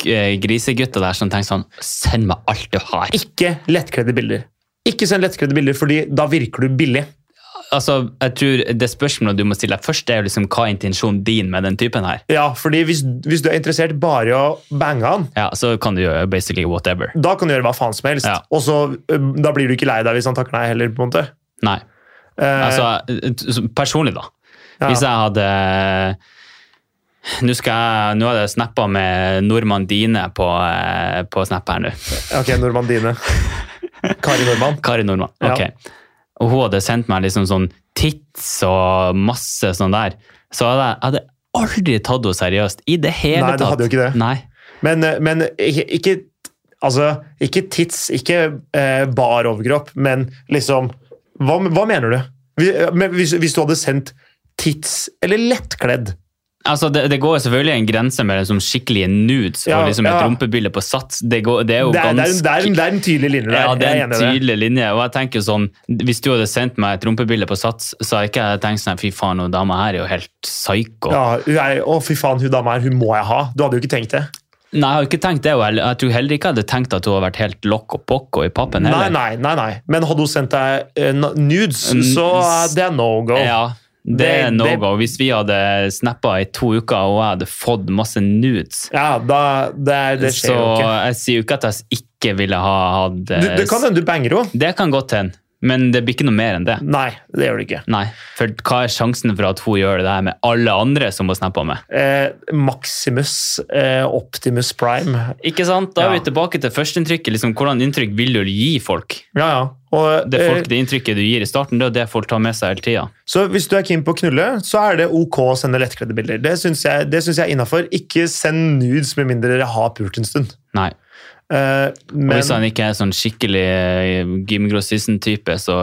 Speaker 2: eh, grisegutter der som tenker sånn 'Send meg alt du har'.
Speaker 1: Ikke lettkledde bilder. Ikke send lettkledde bilder, fordi da virker du billig.
Speaker 2: altså, jeg tror det spørsmålet du må stille deg først, er jo liksom hva er intensjonen din med den typen her.
Speaker 1: Ja, fordi hvis, hvis du er interessert bare i å bange han,
Speaker 2: Ja, Så kan du gjøre basically whatever.
Speaker 1: da kan du gjøre hva faen som helst.
Speaker 2: Ja.
Speaker 1: Og så øhm, Da blir du ikke lei deg hvis han takker nei heller, på en måte.
Speaker 2: Nei,
Speaker 1: Eh,
Speaker 2: altså personlig, da.
Speaker 1: ja.
Speaker 2: Hvis jeg hadde Nå skal jeg, nå hadde jeg snappa med Normandine på, eh, på Snap her nå.
Speaker 1: Ok, Normandine. Kari Nordmann.
Speaker 2: Kari Nordmann.
Speaker 1: Ja.
Speaker 2: ok. Og hun hadde sendt meg liksom sånn tits og masse sånn der. Så hadde jeg jeg hadde aldri tatt henne seriøst i det hele
Speaker 1: Nei, du
Speaker 2: tatt.
Speaker 1: hadde jo ikke det.
Speaker 2: Nei.
Speaker 1: Men, men ikke, ikke Altså, ikke tits, ikke eh, bar overkropp, men liksom Hva, hva mener du? Vi- men Hvis, hvis du hadde sendt tits eller lettkledd
Speaker 2: Altså, det, det går jo selvfølgelig en grense mellom som skikkelige nudes
Speaker 1: Ja,
Speaker 2: og liksom et
Speaker 1: ja.
Speaker 2: rumpebilde på sats. Det, går, det er jo
Speaker 1: det er, det, er,
Speaker 2: ganske...
Speaker 1: en- det, er, en- det er en tydelig linje der.
Speaker 2: ja, det
Speaker 1: jeg
Speaker 2: er en
Speaker 1: enig i det.
Speaker 2: tydelig linje, og jeg tenker jo sånn, hvis du hadde sendt meg et rumpebilde på sats, så hadde ikke jeg tenkt sånn, fy faen, noen dame her er jo helt psyko.
Speaker 1: Ja, hun er, å, fy faen, hun dama her, hun må jeg ha. Du hadde jo ikke tenkt det.
Speaker 2: Nei, jeg har ikke tenkt det, og jeg, jeg tror heller ikke jeg hadde tenkt at hun hadde vært helt lokk og pokko i pappen
Speaker 1: Nei,
Speaker 2: heller.
Speaker 1: nei, nei, nei. Men hadde hun sendt deg eh, n- nudes,
Speaker 2: Mm,
Speaker 1: så eh, det er no go.
Speaker 2: Ja, det,
Speaker 1: Det-
Speaker 2: er no
Speaker 1: det-
Speaker 2: go. Hvis vi hadde snappa i to uker, og jeg hadde fått masse nudes,
Speaker 1: Ja, da, det, er- det skjer
Speaker 2: så
Speaker 1: jo ikke.
Speaker 2: jeg sier jo ikke at jeg ikke ville ha hatt
Speaker 1: Du,
Speaker 2: eh,
Speaker 1: det kan hende du banger henne.
Speaker 2: Det kan godt hende, men det blir ikke noe mer enn det.
Speaker 1: Nei, det gjør du ikke.
Speaker 2: Nei, for hva er sjansen for at hun gjør det der med alle andre som hun snapper med?
Speaker 1: Eh, Maximus eh, Optimus Prime.
Speaker 2: Ikke sant? Da er
Speaker 1: Ja.
Speaker 2: vi tilbake til førsteinntrykket. Liksom, hvordan inntrykk vil du gi folk?
Speaker 1: Ja, ja. Og,
Speaker 2: Det, folk,
Speaker 1: eh,
Speaker 2: det inntrykket du gir i starten, det er jo det folk tar med seg hele tida.
Speaker 1: så hvis du er keen på å knulle, så er det ok å sende lettkledde bilder. Det syns jeg, det synes jeg er innafor. Ikke send nudes med mindre dere har pult en stund.
Speaker 2: Nei.
Speaker 1: Eh,
Speaker 2: Og
Speaker 1: men
Speaker 2: hvis han ikke er sånn skikkelig eh, Jim Grossisten-type, så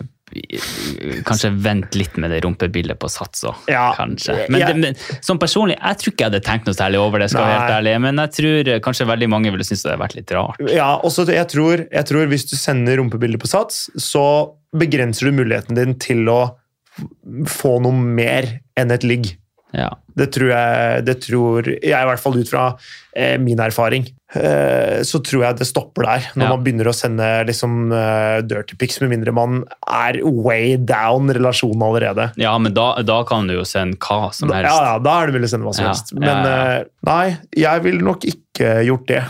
Speaker 2: eh, Kanskje vent litt med det rumpebildet på sats òg,
Speaker 1: Ja.
Speaker 2: kanskje. Men,
Speaker 1: Jeg-
Speaker 2: det, men som personlig, jeg tror ikke jeg hadde tenkt noe særlig over det, skal jeg være helt ærlig. Men jeg tror eh, kanskje veldig mange ville synes det hadde vært litt rart.
Speaker 1: Ja, og så jeg tror, jeg tror hvis du sender rumpebilder på sats, så begrenser du muligheten din til å få noe mer enn et ligg.
Speaker 2: Ja.
Speaker 1: Det tror jeg, det tror jeg i hvert fall ut fra eh, min erfaring. Eh, så tror jeg det stopper der, når
Speaker 2: Ja.
Speaker 1: man begynner å sende liksom, eh, dirty pics, med mindre man er way down relasjonen allerede.
Speaker 2: Ja, men da, da kan du jo sende hva som
Speaker 1: Da,
Speaker 2: helst.
Speaker 1: ja, ja, da er det mulig å sende hva som
Speaker 2: Ja,
Speaker 1: helst.
Speaker 2: ja,
Speaker 1: Men
Speaker 2: ja.
Speaker 1: eh, nei, jeg ville nok ikke gjort det.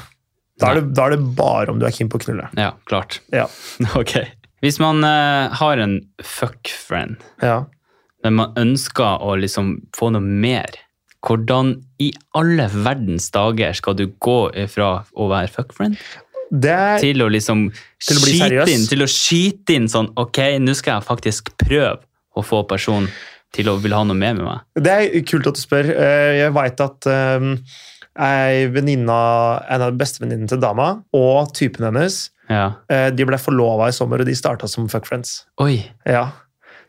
Speaker 1: Da er det, da er det bare om du er keen på å knulle.
Speaker 2: Ja, klart.
Speaker 1: Ja.
Speaker 2: Ok. Hvis man eh, har en fuck friend,
Speaker 1: Ja.
Speaker 2: men man ønsker å liksom få noe mer, hvordan i alle verdens dager skal du gå fra å være fuck friend
Speaker 1: Det er
Speaker 2: til å liksom
Speaker 1: Til å bli
Speaker 2: skyte
Speaker 1: seriøs?
Speaker 2: inn, til å skyte inn sånn, ok, nå skal jeg faktisk prøve å få personen til å vil ha noe mer med meg.
Speaker 1: Det er kult at du spør. Eh, Jeg veit at eh, ei venninne, en av bestevenninnene til dama og typen hennes
Speaker 2: Ja.
Speaker 1: eh, De ble forlova i sommer, og de starta som fuck friends.
Speaker 2: Oi,
Speaker 1: Ja.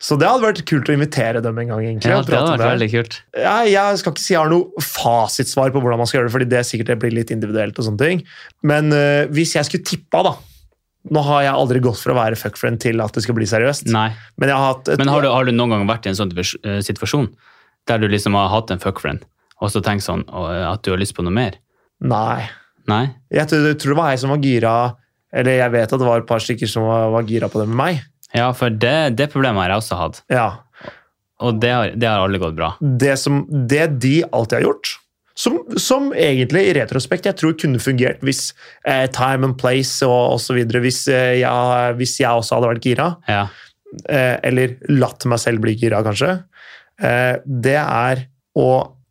Speaker 1: Så det hadde vært kult å invitere dem en gang. egentlig.
Speaker 2: ja,
Speaker 1: og
Speaker 2: det hadde
Speaker 1: prate om
Speaker 2: vært
Speaker 1: det.
Speaker 2: veldig kult.
Speaker 1: ja, jeg skal ikke si jeg har noe fasitsvar på hvordan man skal gjøre det, fordi det sikkert det blir litt individuelt. og sånne ting. Men eh, hvis jeg skulle tippa, da Nå har jeg aldri gått for å være fuck friend til at det skal bli seriøst.
Speaker 2: Nei.
Speaker 1: Men jeg har hatt et...
Speaker 2: Men har du, har du noen gang vært i en sånn tivers- eh, situasjon der du liksom har hatt en fuckfriend, og så tenkt sånn å, eh, at du har lyst på noe mer?
Speaker 1: Nei.
Speaker 2: Nei?
Speaker 1: Jeg tror, jeg tror det var jeg som var gira Eller jeg vet at det var et par stykker som var, var gira på det med meg.
Speaker 2: Ja, for det, det problemet har jeg også hatt,
Speaker 1: Ja.
Speaker 2: og det har, det har aldri gått bra.
Speaker 1: Det, som, det de alltid har gjort, som, som egentlig i retrospekt jeg tror kunne fungert hvis eh, time and place og osv. Hvis, eh, jeg- hvis jeg også hadde vært gira,
Speaker 2: Ja,
Speaker 1: eh, eller latt meg selv bli gira, kanskje, eh, det er å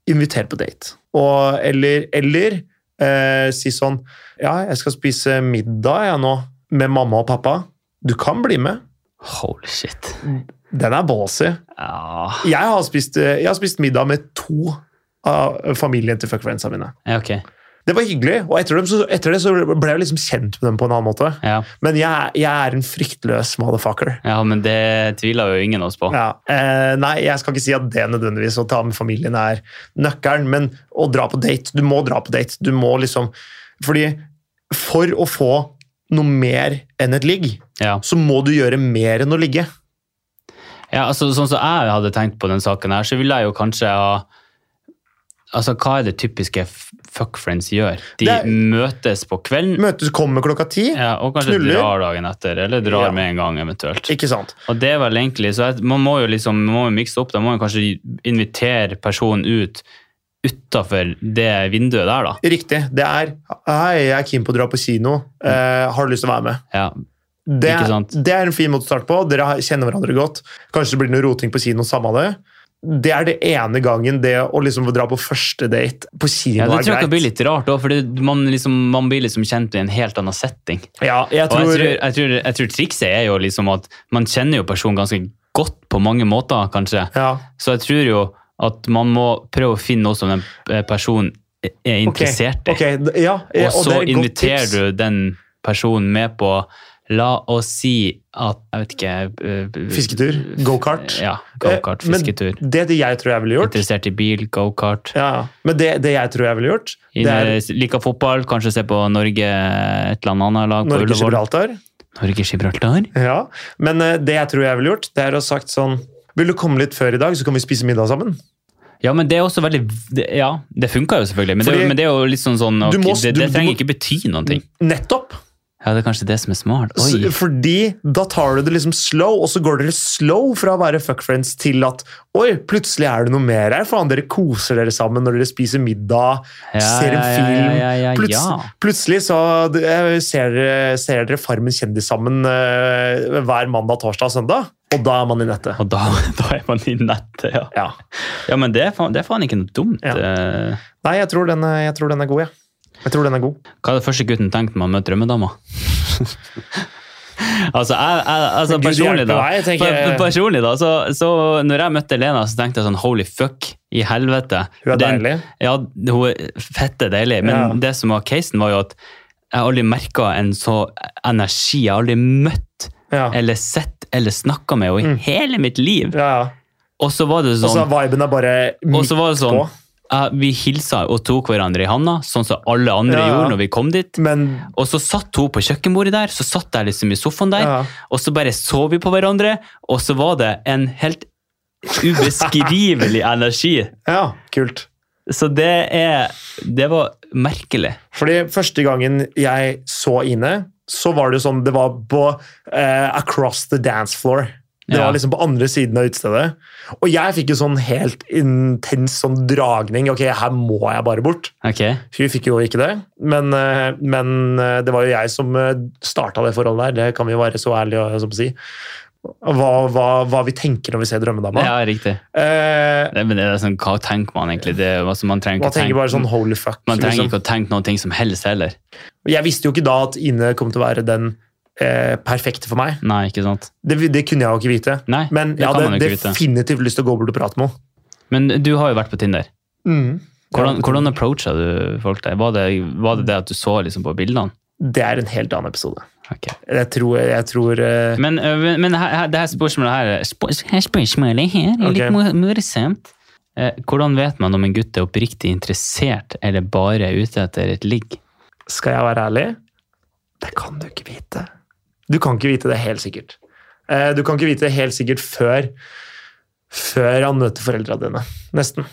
Speaker 1: invitere på date. Og, eller eller eh, si sånn Ja, jeg skal spise middag jeg nå, med mamma og pappa. Du kan bli med.
Speaker 2: Holy shit.
Speaker 1: Den er ballsy.
Speaker 2: Ja,
Speaker 1: Jeg har spist, eh, jeg har spist middag med to av familien til fuckfriendsa mine.
Speaker 2: ja ok.
Speaker 1: Det var hyggelig, og etter, dem, så, etter det så ble jeg liksom kjent med dem på en annen måte.
Speaker 2: Ja.
Speaker 1: Men jeg, jeg er en fryktløs motherfucker.
Speaker 2: ja, men det tviler jo ingen av oss på.
Speaker 1: Ja. Eh, nei, jeg skal ikke si at det nødvendigvis å ta med familien er nøkkelen, men å dra på date Du må dra på date. Du må liksom Fordi for å få noe mer enn et ligg,
Speaker 2: Ja.
Speaker 1: så må du gjøre mer enn å ligge.
Speaker 2: Ja, altså Sånn som jeg hadde tenkt på den saken her, så ville jeg jo kanskje ha Altså, hva er det typiske f- fuck friends gjør? De
Speaker 1: Det er-
Speaker 2: møtes på kvelden,
Speaker 1: Møtes kommer klokka ti.
Speaker 2: ja, og kanskje
Speaker 1: knuller.
Speaker 2: drar dagen etter, eller drar
Speaker 1: Ja.
Speaker 2: med en gang, eventuelt.
Speaker 1: Ikke sant?
Speaker 2: Og det er vel egentlig, så jeg, Man må jo liksom, man må jo mikse opp, da må man kanskje invitere personen ut utafor det vinduet der, da.
Speaker 1: Riktig. Det er 'Hei, jeg er keen på å dra på kino. Eh, har du lyst til å være med?'
Speaker 2: Ja,
Speaker 1: Det,
Speaker 2: Mm. Ikke sant?
Speaker 1: det er en fin måte å starte på. Dere har- kjenner hverandre godt. Kanskje det blir noe roting på kino samme av det. Det er det ene gangen det å liksom få dra på første date på kino
Speaker 2: ja Det
Speaker 1: er
Speaker 2: tror jeg
Speaker 1: greit.
Speaker 2: kan bli litt rart, da, for det, man, liksom, man blir liksom kjent i en helt annen setting.
Speaker 1: Ja, jeg
Speaker 2: Og
Speaker 1: tror,
Speaker 2: jeg tror, jeg, tror, jeg tror trikset er jo liksom at man kjenner jo personen ganske godt på mange måter, kanskje.
Speaker 1: ja.
Speaker 2: Så jeg tror jo at man må prøve å finne noe som den eh, personen er
Speaker 1: Ok,
Speaker 2: interessert i.
Speaker 1: ok, d- ja, eh,
Speaker 2: Og så
Speaker 1: det er et godt
Speaker 2: inviterer
Speaker 1: tips.
Speaker 2: du den personen med på La oss si at Jeg vet ikke eh,
Speaker 1: Fisketur, go-kart.
Speaker 2: Ja. Gokart,
Speaker 1: Eh, men
Speaker 2: fisketur.
Speaker 1: Det, er det jeg tror jeg ville gjort
Speaker 2: Interessert i bil, gokart.
Speaker 1: ja, ja. Men det, det jeg tror jeg ville gjort, det er
Speaker 2: Inne- Liker fotball, kanskje se på Norge et eller annet lag på Ullevål.
Speaker 1: Norge-Gibraltar.
Speaker 2: Norge-Gibraltar?
Speaker 1: Ja. Men eh, det jeg tror jeg ville gjort, det er å ha sagt sånn Vil du komme litt før i dag, så kan vi spise middag sammen?
Speaker 2: Ja, men det er også veldig det- Ja, det funka jo selvfølgelig, men, det, er
Speaker 1: Fordi-
Speaker 2: jo- men det er jo litt sånn sånn ok,
Speaker 1: Du må-
Speaker 2: Det,
Speaker 1: du-
Speaker 2: det
Speaker 1: du
Speaker 2: trenger
Speaker 1: må-
Speaker 2: ikke bety noen ting.
Speaker 1: Nettopp!
Speaker 2: Ja, det er kanskje det som er smart. Oi.
Speaker 1: S- Fordi da tar du det liksom slow, og så går dere slow fra å være fuckfriends til at Oi, plutselig er det noe mer her. Faen, dere koser dere sammen når dere spiser middag,
Speaker 2: Ja,
Speaker 1: ser en
Speaker 2: ja, ja,
Speaker 1: film.
Speaker 2: Ja, ja, ja,
Speaker 1: Plutselig,
Speaker 2: ja.
Speaker 1: plutselig så eh, ser dere, ser dere Farmen kjendis sammen eh, hver mandag, torsdag og søndag, og da er man i nettet.
Speaker 2: Og da, da er man i nettet, ja.
Speaker 1: Ja.
Speaker 2: Ja, men det er faen, det er faen ikke noe dumt.
Speaker 1: Ja.
Speaker 2: eh.
Speaker 1: Nei, jeg tror den, er- jeg tror den er god, jeg. Ja. Jeg tror den er god.
Speaker 2: Hva er det første gutten tenker når man møter drømmedama? altså, jeg, jeg, altså
Speaker 1: Men Gud
Speaker 2: personlig,
Speaker 1: hjelpe
Speaker 2: da,
Speaker 1: meg, jeg eh, tenker-
Speaker 2: per- per- personlig da så, så Når jeg møtte Lena, så tenkte jeg sånn holy fuck, i helvete.
Speaker 1: Hun er
Speaker 2: Den-
Speaker 1: deilig.
Speaker 2: Ja, hun er fette deilig. Men
Speaker 1: Ja.
Speaker 2: det som var casen, var jo at jeg har aldri merka en så energi. Jeg har aldri møtt
Speaker 1: Ja. ja,
Speaker 2: eller sett eller snakka med henne i hele mitt liv.
Speaker 1: ja.
Speaker 2: Og så var det
Speaker 1: Mm. Og så
Speaker 2: sånn
Speaker 1: er viben er bare
Speaker 2: og så
Speaker 1: midt
Speaker 2: var det sånn,
Speaker 1: på.
Speaker 2: ja, Vi hilsa og tok hverandre i handa, sånn som alle andre
Speaker 1: Ja, ja.
Speaker 2: gjorde når vi kom dit.
Speaker 1: Men
Speaker 2: Og så satt hun på kjøkkenbordet der, så satt jeg liksom i sofaen der,
Speaker 1: ja.
Speaker 2: og så bare så vi på hverandre, og så var det en helt ubeskrivelig energi.
Speaker 1: ja, kult.
Speaker 2: Så det er Det var merkelig.
Speaker 1: Fordi første gangen jeg så Ine, så var det jo sånn Det var på eh, Across the dance floor. Det
Speaker 2: Ja.
Speaker 1: var liksom på andre siden av utestedet. Og jeg fikk jo sånn helt intens sånn dragning. Ok, her må jeg bare bort.
Speaker 2: Ok?
Speaker 1: Hun fikk jo ikke det, men, eh, men eh, det var jo jeg som starta det forholdet der. Det kan vi jo være så ærlige og som å si. Hva, hva, hva vi tenker når vi ser Drømmedama.
Speaker 2: Ja, riktig.
Speaker 1: Eh,
Speaker 2: Det, men det er sånn, hva tenker man egentlig? Det, er- altså, man trenger, ikke,
Speaker 1: man
Speaker 2: å
Speaker 1: tenker
Speaker 2: tenke,
Speaker 1: bare sånn holy fuck.
Speaker 2: man trenger
Speaker 1: liksom.
Speaker 2: ikke å tenke noe som helst heller.
Speaker 1: Jeg visste jo ikke da at Ine kom til å være den eh, perfekte for meg.
Speaker 2: Nei, ikke sant?
Speaker 1: Det, det kunne jeg jo ikke vite.
Speaker 2: Nei,
Speaker 1: Men
Speaker 2: det
Speaker 1: jeg
Speaker 2: kan man
Speaker 1: hadde
Speaker 2: jo ikke vite.
Speaker 1: definitivt lyst til å gå bort og prate med henne.
Speaker 2: Men du har jo vært på Tinder. Hvordan, hvordan approacha du folk der? Var det, var det det at du så liksom på bildene?
Speaker 1: Det er en helt annen episode.
Speaker 2: Ok.
Speaker 1: Jeg tror, jeg tror eh,
Speaker 2: Men, ø, men- men her, her- det her spørsmålet her, spør, her spørsmålet her er
Speaker 1: Ok.
Speaker 2: litt mo- morsomt. Eh, Hvordan vet man om en gutt er oppriktig interessert eller bare er ute etter et ligg?
Speaker 1: Skal jeg være ærlig? Det kan du ikke vite. Du kan ikke vite det helt sikkert. Eh, Du kan ikke vite det helt sikkert før, før han møter foreldra dine. Nesten.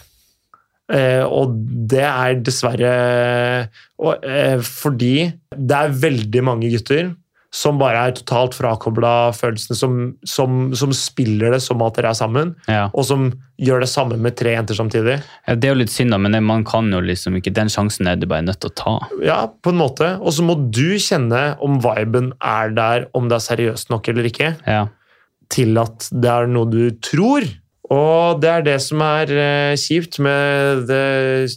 Speaker 1: Eh, Og det er dessverre og, eh, fordi det er veldig mange gutter som bare er totalt frakobla følelsene, som, som, som spiller det som at dere er sammen,
Speaker 2: Ja.
Speaker 1: og som gjør det samme med tre jenter samtidig.
Speaker 2: Ja, Det er jo litt synd, da, men det- man kan jo liksom ikke Den sjansen er du bare nødt til å ta.
Speaker 1: Ja, på en måte. Og så må du kjenne om viben er der, om det er seriøst nok eller ikke,
Speaker 2: Ja.
Speaker 1: til at det er noe du tror. Og det er det som er eh, kjipt med det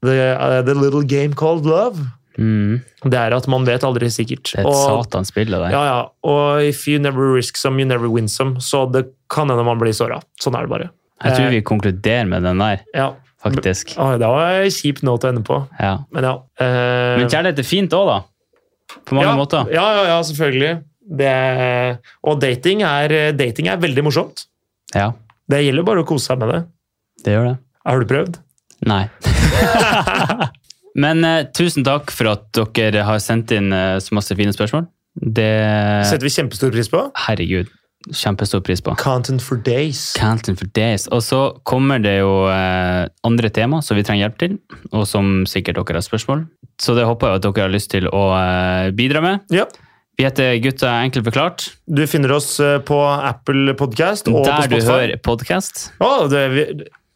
Speaker 1: The, eh, the Little Game Called Love.
Speaker 2: Mm.
Speaker 1: Det er at man vet aldri sikkert.
Speaker 2: Det er et
Speaker 1: Og,
Speaker 2: satans bilde der.
Speaker 1: ja, ja. og if you never risk some, you never win some. Så det kan hende man blir såra. Sånn er det bare.
Speaker 2: Jeg tror vi konkluderer med den der,
Speaker 1: Ja.
Speaker 2: faktisk.
Speaker 1: Å, det var en kjip nåt å ende på.
Speaker 2: Ja.
Speaker 1: Men ja. eh,
Speaker 2: Men kjærlighet er fint òg, da. På mange
Speaker 1: ja,
Speaker 2: måter.
Speaker 1: Ja, ja, ja selvfølgelig. Det, er- og dating er, dating er veldig morsomt.
Speaker 2: Ja,
Speaker 1: Det gjelder bare å kose seg med det.
Speaker 2: det gjør det.
Speaker 1: Har du prøvd?
Speaker 2: Nei. Men eh, tusen takk for at dere har sendt inn eh, så masse fine spørsmål.
Speaker 1: Det
Speaker 2: Det
Speaker 1: setter vi kjempestor pris på.
Speaker 2: Herregud, kjempestor pris på.
Speaker 1: Content for days.
Speaker 2: Canton for days. Og så kommer det jo eh, andre tema som vi trenger hjelp til, og som sikkert dere har spørsmål. Så det håper jeg at dere har lyst til å eh, bidra med.
Speaker 1: Ja.
Speaker 2: Vi heter Gutta enkelt forklart,
Speaker 1: Du finner oss eh, på Apple Podcast og på
Speaker 2: der du
Speaker 1: Spotify.
Speaker 2: hører podkast.
Speaker 1: Å, det, vi,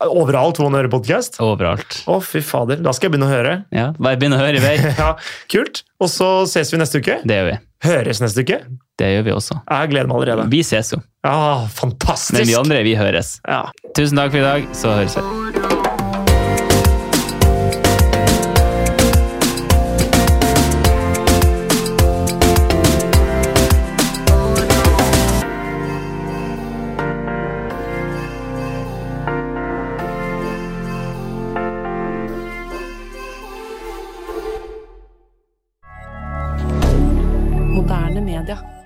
Speaker 1: overalt hvor man hører podkast. Å,
Speaker 2: Overalt.
Speaker 1: fy fader. Da skal jeg begynne å høre.
Speaker 2: Ja, bare begynn å høre i vei.
Speaker 1: Ja, Kult. Og så ses vi neste uke.
Speaker 2: Det gjør vi.
Speaker 1: Høres neste uke.
Speaker 2: Det gjør vi også.
Speaker 1: Jeg gleder meg allerede.
Speaker 2: Vi ses jo.
Speaker 1: Ja,
Speaker 2: Men
Speaker 1: fantastisk!
Speaker 2: vi andre, vi høres.
Speaker 1: Ja.
Speaker 2: Tusen takk for i dag, så høres vi.
Speaker 3: Moderne media.